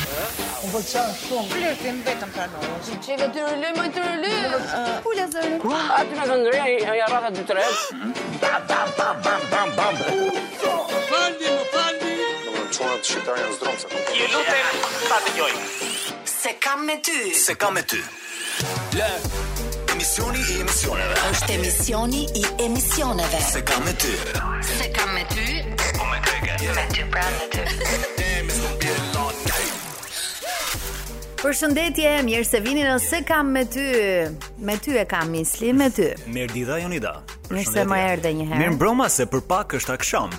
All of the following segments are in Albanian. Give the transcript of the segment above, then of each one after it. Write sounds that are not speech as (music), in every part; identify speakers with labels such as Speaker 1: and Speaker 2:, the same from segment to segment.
Speaker 1: Më pëlqen shumë.
Speaker 2: Flirtim vetëm pranoj.
Speaker 3: Çeve dy rëlë, më dy rëlë.
Speaker 2: Pula zëri.
Speaker 4: Aty në këndëria ja rrafa dy tre.
Speaker 5: Çunat shqiptarë janë zdromë se kupton.
Speaker 6: Ju lutem ta dëgjoj.
Speaker 7: Se kam me ty
Speaker 8: Se kam me ty Lë Emisioni i emisioneve
Speaker 7: është emisioni i emisioneve
Speaker 8: Se kam me ty
Speaker 7: Se kam me ty
Speaker 8: Po me kreke
Speaker 7: Me ty pra me ty
Speaker 2: Përshëndetje, mirë se vini në Se kam me ty. Me ty e kam misli, me ty.
Speaker 8: Merdida Jonida
Speaker 2: Mirë se më erdhe një herë.
Speaker 8: Mirë mbroma se për pak është akşam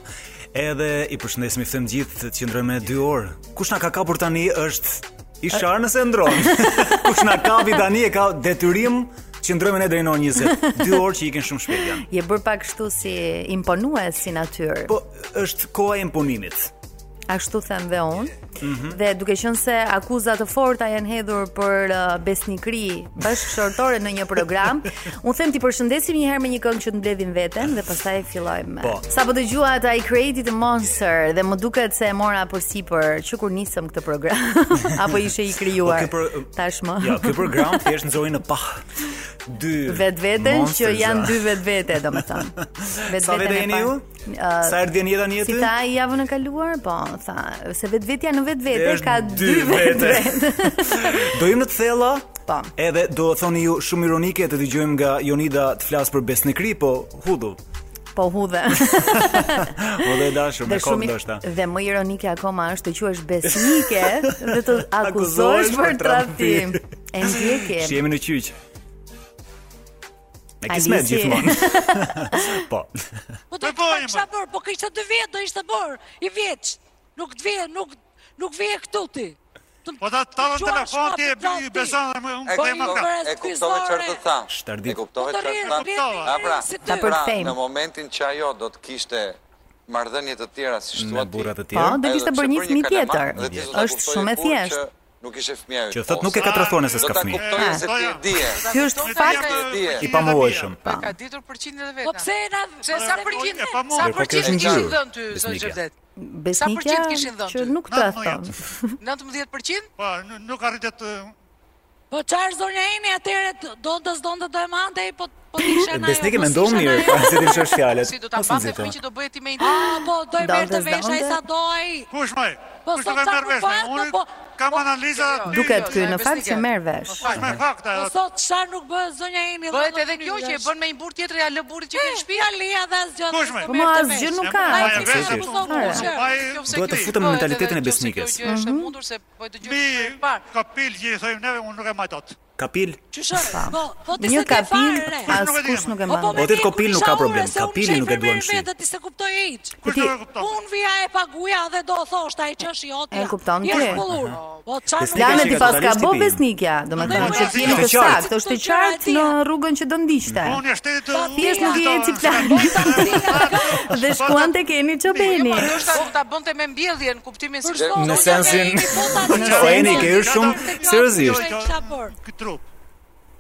Speaker 8: Edhe i përshëndesim i them gjithë të qëndrojmë me 2 orë. Kush na ka kapur tani është i shar nëse
Speaker 2: (laughs)
Speaker 8: ndron. Kush na kapi tani e ka detyrim qëndrojmë ne deri në orën 20. 2 orë që ikin shumë shpejt janë.
Speaker 2: Je bërë pak kështu si imponues si natyrë.
Speaker 8: Po është koha e impunimit.
Speaker 2: Ashtu them dhe unë.
Speaker 8: Mhm.
Speaker 2: Dhe duke qenë se akuza të forta janë hedhur për uh, besnikri bashkëshortore në një
Speaker 8: (laughs)
Speaker 2: program, unë them ti përshëndesim një herë me një këngë që të mbledhin veten dhe pastaj fillojmë.
Speaker 8: Po.
Speaker 2: Sapo dëgjova ata I Created a Monster dhe më duket se e mora përsipër që kur nisëm këtë program (laughs) apo ishe i krijuar.
Speaker 8: Po, ky pro-
Speaker 2: Tashmë.
Speaker 8: Ja, ky program thjesht nxori në pah. Dy
Speaker 2: vetveten që
Speaker 8: monsterza.
Speaker 2: janë dy vetvete,
Speaker 8: (laughs)
Speaker 2: domethënë. Vetveten
Speaker 8: Sa vete
Speaker 2: e
Speaker 8: jeni
Speaker 2: parë.
Speaker 8: ju?
Speaker 2: Ë,
Speaker 8: Sa erdhi jeni jeta një
Speaker 2: Si
Speaker 8: jetë?
Speaker 2: tha i javën e kaluar, po, tha, se vetvetja në vetvete
Speaker 8: Është
Speaker 2: ka dy vetvete. (laughs)
Speaker 8: (laughs) do jemi në të thella.
Speaker 2: Po.
Speaker 8: Edhe do thoni ju shumë ironike të dëgjojmë nga Jonida të flas për besnikri, po
Speaker 2: (laughs)
Speaker 8: hudhu.
Speaker 2: po hudhe.
Speaker 8: Po dhe dashur me kokë ndoshta.
Speaker 2: dhe më ironike akoma është të quhesh besnike dhe të
Speaker 8: (laughs) Akuzohesh
Speaker 2: akuzohesh
Speaker 8: për
Speaker 2: për trafim.
Speaker 8: (laughs)
Speaker 2: E ndjekim.
Speaker 8: Shihemi në qyq. Me
Speaker 2: Alisi.
Speaker 8: kismet
Speaker 2: (laughs)
Speaker 8: gjithmonë. po.
Speaker 9: Po do të pak kisha bërë, po kishte dy vjetë do ishte bërë, i vjeç. Nuk të vjen, nuk nuk vije këtu ti.
Speaker 1: Po ta tavën telefon ti e bëj beson dhe më unë
Speaker 9: Po,
Speaker 1: them
Speaker 9: jo,
Speaker 1: atë.
Speaker 9: vërë,
Speaker 10: E kuptove çfarë të tha.
Speaker 8: Shtardit.
Speaker 10: E kuptove
Speaker 9: Po të
Speaker 10: çfarë
Speaker 9: rrirë,
Speaker 10: tha.
Speaker 1: rrirë,
Speaker 10: A pra,
Speaker 9: si ty.
Speaker 2: Ta
Speaker 10: pra,
Speaker 2: përkthejmë.
Speaker 10: në momentin që ajo do të kishte marrëdhënie të tjera si
Speaker 8: Me
Speaker 10: shtua ti.
Speaker 8: burrat e
Speaker 2: Po,
Speaker 8: tjerë.
Speaker 2: do
Speaker 10: edhe
Speaker 2: kishte
Speaker 10: pse
Speaker 2: bërë një
Speaker 10: për
Speaker 2: fëmijë
Speaker 10: kaleman,
Speaker 2: tjetër.
Speaker 10: dhe ti s'u ta
Speaker 2: Është
Speaker 10: kuptoje
Speaker 2: shumë e
Speaker 10: kur
Speaker 2: thjesht.
Speaker 10: që Nuk ishe fëmija
Speaker 8: Që thot nuk e ka tradhone se
Speaker 10: Do
Speaker 8: s'ka
Speaker 10: ta
Speaker 8: fëmijë.
Speaker 10: kuptoje
Speaker 2: Ah.
Speaker 10: se ti e dije.
Speaker 2: Ky është
Speaker 1: Me
Speaker 2: fakt
Speaker 1: tjerë,
Speaker 10: Ti e.
Speaker 1: me
Speaker 8: I
Speaker 1: tjerë
Speaker 8: pamoheshëm.
Speaker 2: Pa.
Speaker 6: Ka ditur përqindin e
Speaker 9: Po
Speaker 6: vetë.
Speaker 9: pse na
Speaker 6: Pse sa përqind,
Speaker 1: e pa mua.
Speaker 6: sa
Speaker 1: Mirë, po
Speaker 6: përqind
Speaker 8: kishin
Speaker 6: kishin
Speaker 8: dhënë.
Speaker 6: dhënë ty zot
Speaker 8: Besnikja.
Speaker 6: Xhevdet?
Speaker 2: Besnike
Speaker 6: 100% kishin dhënë
Speaker 2: që
Speaker 6: ty?
Speaker 2: nuk të
Speaker 1: Na, po, ja.
Speaker 2: thon.
Speaker 6: 19%?
Speaker 1: Po, n- nuk arritet të-
Speaker 9: Po çfarë zonja ime atëre donte s'donte do e mante, po po ti
Speaker 8: (laughs)
Speaker 9: kisha na.
Speaker 8: Besnike mendon (laughs) mirë, pra se ti shosh fjalët.
Speaker 6: Si do ta
Speaker 8: Mos
Speaker 6: mbante
Speaker 8: nxito.
Speaker 6: fëmijë që do bëhet i me
Speaker 9: (laughs) Ah, po do i
Speaker 2: Donte,
Speaker 9: merr të vesh ai
Speaker 2: s'donte.
Speaker 9: sa doj.
Speaker 1: Kush më?
Speaker 9: Po,
Speaker 1: Kush
Speaker 9: sot
Speaker 1: nuk e
Speaker 9: sa
Speaker 1: merr
Speaker 9: ku
Speaker 1: vesh?
Speaker 9: fat,
Speaker 1: Unë
Speaker 9: po-
Speaker 1: kam
Speaker 9: po-
Speaker 1: analiza
Speaker 6: jo,
Speaker 1: dy-
Speaker 2: Duket ky
Speaker 6: Jo,
Speaker 2: në
Speaker 6: besnike.
Speaker 2: fakt se merr vesh.
Speaker 1: Tash me fakta.
Speaker 9: Po
Speaker 1: edhe-
Speaker 9: sot çfarë nuk bëhet zonja ime.
Speaker 6: Bëhet edhe kjo që e bën me një burr tjetër ja lë burrit që ke në shtëpi.
Speaker 9: (laughs) Ja leja dhe asgjë.
Speaker 1: Kush me?
Speaker 2: Po më asgjë nuk ka.
Speaker 1: Ai
Speaker 9: Ai
Speaker 1: e
Speaker 9: kisha
Speaker 1: vetë.
Speaker 9: abuzon
Speaker 2: Fare.
Speaker 9: kushë.
Speaker 1: Ai
Speaker 6: Qofse
Speaker 8: Duhet të
Speaker 6: kri,
Speaker 8: futem në
Speaker 6: bëhet
Speaker 8: mentalitetin
Speaker 6: edhe
Speaker 8: e
Speaker 6: qofse
Speaker 8: besnikës.
Speaker 6: Kjo gjë është e mundur se po e dëgjoj
Speaker 1: Mi
Speaker 6: shumë parë.
Speaker 1: kapil që i thojmë neve, unë nuk e majtot.
Speaker 8: Kapil.
Speaker 9: Qysh? Po, po ti
Speaker 2: Një
Speaker 9: s'e ke
Speaker 2: kapil
Speaker 9: fare, re.
Speaker 2: askush nuk e
Speaker 9: Po, po,
Speaker 2: mban.
Speaker 9: me
Speaker 8: Otit
Speaker 9: mjekun
Speaker 8: Kopil nuk
Speaker 9: isha
Speaker 8: ka
Speaker 9: ure,
Speaker 8: problem,
Speaker 9: se unë
Speaker 8: Kapili
Speaker 9: isha i
Speaker 8: nuk e duan
Speaker 9: përmirë
Speaker 8: shi.
Speaker 9: vetë, ti se kuptoj hiç.
Speaker 1: Kush
Speaker 2: ti-
Speaker 1: nuk e kupton?
Speaker 9: Unë vija e paguja dhe do thoshta ai ç'është i otja.
Speaker 2: E kupton
Speaker 9: Je
Speaker 2: ti.
Speaker 9: shkollur. Po çfarë
Speaker 8: Besnika
Speaker 2: Lane ti
Speaker 8: Ka
Speaker 2: pas ka
Speaker 8: totalisht
Speaker 2: bë
Speaker 8: i pi.
Speaker 2: besnikja, domethënë
Speaker 1: Po,
Speaker 2: që
Speaker 1: po,
Speaker 2: ti jeni
Speaker 1: është
Speaker 2: të
Speaker 8: e qartë.
Speaker 2: saktë, është i qartë në rrugën që do ndiqte.
Speaker 1: Unë e shtetit të...
Speaker 9: Po,
Speaker 2: Thjesht nuk i eci plan. (laughs) Dhe
Speaker 1: Dhe
Speaker 2: shkuan te keni çobeni.
Speaker 6: Po ndoshta nuk ta bënte me mbjelljen, kuptimin se
Speaker 9: Përshtatun,
Speaker 8: Në
Speaker 9: unë
Speaker 8: sensin-
Speaker 9: jam e imi, po ta di.
Speaker 1: Po,
Speaker 8: Eni, ke hyrë shumë seriozisht.
Speaker 9: Do e kisha bërë.
Speaker 1: Ky trup.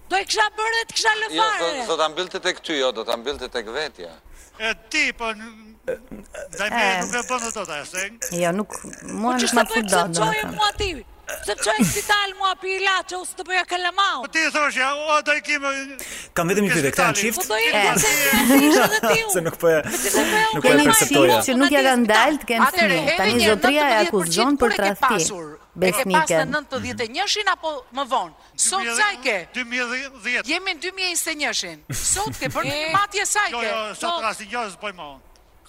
Speaker 9: Do e kisha bërë dhe të kisha lë
Speaker 10: Jo,
Speaker 9: fare.
Speaker 10: do, do ta mbyllte tek ty, jo, do ta mbyllte tek vetja.
Speaker 1: E ti, po... n- Dhe me
Speaker 2: E.
Speaker 1: nuk e bëndë të të ashtë.
Speaker 2: Jo, nuk mua
Speaker 9: që
Speaker 2: nuk
Speaker 9: sa
Speaker 2: më
Speaker 9: po
Speaker 2: fut
Speaker 9: e
Speaker 2: dot,
Speaker 9: çoje
Speaker 2: domethënë.
Speaker 9: mua ti. Se çoje spital mua pi ilaçe, u të bëja kalamau.
Speaker 1: Po ti thosh, ja, o, do i kime...
Speaker 8: Kam vetëm një pyetje, këta janë
Speaker 9: Po
Speaker 8: çift?
Speaker 9: do
Speaker 1: E.
Speaker 9: jetë të thjesht edhe ti.
Speaker 8: Se nuk po e nuk po e
Speaker 2: Keni
Speaker 8: perceptoja.
Speaker 2: shifë që nuk ja kanë dalë të kenë
Speaker 6: Atëre,
Speaker 2: fëmijë.
Speaker 6: edhe
Speaker 2: Tani
Speaker 6: një
Speaker 2: zotria e
Speaker 6: 90%
Speaker 2: akuzon për
Speaker 6: kur e ke
Speaker 2: tradhti.
Speaker 6: pasur? E ke pas në
Speaker 2: Besniken.
Speaker 6: 91-shin apo më vonë? Sot sa i ke?
Speaker 1: 2010.
Speaker 6: Jemi në 2021-shin. Sot ke
Speaker 9: (laughs)
Speaker 6: bërë një matje sa i
Speaker 1: Jo,
Speaker 6: ke?
Speaker 1: jo,
Speaker 6: Sot
Speaker 1: sot rasti jo, zë bëjmë on.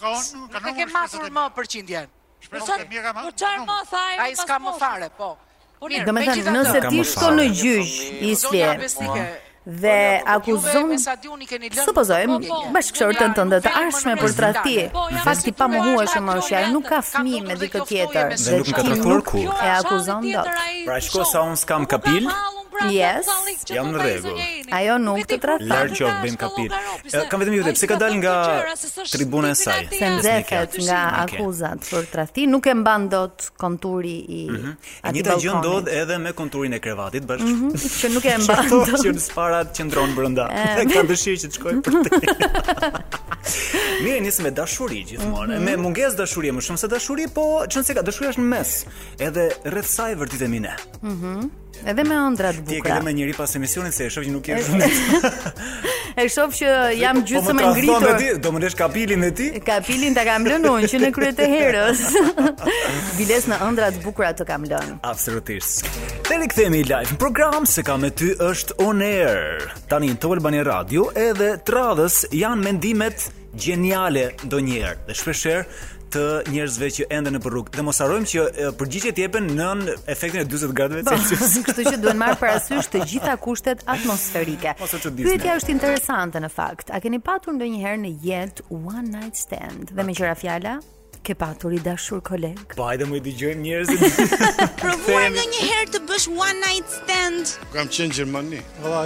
Speaker 1: Ka unë, ka
Speaker 6: nuk e
Speaker 1: numër
Speaker 6: ke matur më përqindjen.
Speaker 1: Shpresë të mjë ka
Speaker 9: Po çfarë më tha ai?
Speaker 6: Ai s'ka më fare, po. Mirë,
Speaker 2: Domethënë,
Speaker 6: megjithatë,
Speaker 2: nëse
Speaker 8: Ka
Speaker 2: ti
Speaker 8: më
Speaker 2: shkon në
Speaker 8: fare.
Speaker 2: gjyq,
Speaker 6: zonja
Speaker 2: isje
Speaker 6: Besnike,
Speaker 2: dhe
Speaker 6: Juve
Speaker 2: akuzon
Speaker 6: me Sadioni keni lënë.
Speaker 2: supozojmë
Speaker 6: Po, po.
Speaker 2: bashkëshortën tënde të arshme për tradhti.
Speaker 9: Po, ja,
Speaker 2: Fakti
Speaker 9: po,
Speaker 2: pa
Speaker 9: si
Speaker 2: mohueshëm
Speaker 9: duhet,
Speaker 2: është ai nuk ka
Speaker 6: ka
Speaker 2: fëmijë me
Speaker 6: ndodhur
Speaker 2: dikë
Speaker 6: dhe
Speaker 2: tjetër
Speaker 6: qoftoje me
Speaker 2: dhe
Speaker 8: Dhe nuk më
Speaker 2: ti
Speaker 8: ka
Speaker 2: nuk
Speaker 8: kur.
Speaker 9: Jo,
Speaker 2: e akuzon dot.
Speaker 8: Pra, shko sa unë s'kam kapil,
Speaker 9: pra,
Speaker 2: Yes,
Speaker 8: jam në rregull.
Speaker 2: Ajo nuk të tradhton.
Speaker 8: Larg qoftë, bëjmë kapil.
Speaker 9: kapi.
Speaker 8: Eh, kam vetëm një pyetje, pse ka dalë nga tribuna e saj?
Speaker 2: Se nxefet
Speaker 8: Besnikja.
Speaker 2: nga
Speaker 8: Okej.
Speaker 2: akuzat për tradhti, nuk e mban dot konturi i
Speaker 8: E
Speaker 2: atij
Speaker 8: njëjta gjë
Speaker 2: balkonit,
Speaker 8: Mhm. ndodh edhe me konturin e krevatit bashkë. Mm
Speaker 2: (laughs) që nuk e mban
Speaker 8: Ato
Speaker 2: dot.
Speaker 8: që në sparat qëndron brenda. (laughs) Ka dëshirë që të shkojë
Speaker 2: (laughs)
Speaker 8: për te. Mirë, nisë me dashuri gjithmonë.
Speaker 2: Mhm.
Speaker 8: Me mungesë dashurie më shumë se dashuri, po çon se ka dashuria është në mes. Edhe rreth saj vërtetemi ne.
Speaker 2: Edhe me ëndra të
Speaker 8: Ti e ke
Speaker 2: bukura.
Speaker 8: dhe me njëri pas emisionit se e shoh që nuk je shumë.
Speaker 2: E shoh që jam gjysmë e
Speaker 8: Po më transforme
Speaker 2: ngritur.
Speaker 8: ti, Do më lesh kapilin e ti?
Speaker 2: Kapilin ta kam lënë unë që në krye të
Speaker 8: (laughs)
Speaker 2: herës. Biles në ëndra të bukura të kam lënë.
Speaker 8: Absolutisht. Te rikthehemi live në program se ka me ty është on air. Tani në Top Albani Radio edhe tradhës janë mendimet gjeniale ndonjëherë dhe shpeshherë të njerëzve që ende në rrugë. Dhe mos harrojmë që e, përgjigjet jepen nën efektin e 40 gradëve
Speaker 2: (laughs)
Speaker 8: Celsius.
Speaker 2: Kështu që duhen marrë parasysh të gjitha kushtet atmosferike.
Speaker 8: Mos e çuditni.
Speaker 2: Pyetja është interesante në fakt. A keni patur ndonjëherë në jetë one night stand? Dhe me qëra fjala, ke patur i dashur koleg?
Speaker 8: Po hajde më i dëgjojmë njerëzit.
Speaker 9: Provuar ndonjëherë të bësh one night stand?
Speaker 5: Kam qenë në Gjermani.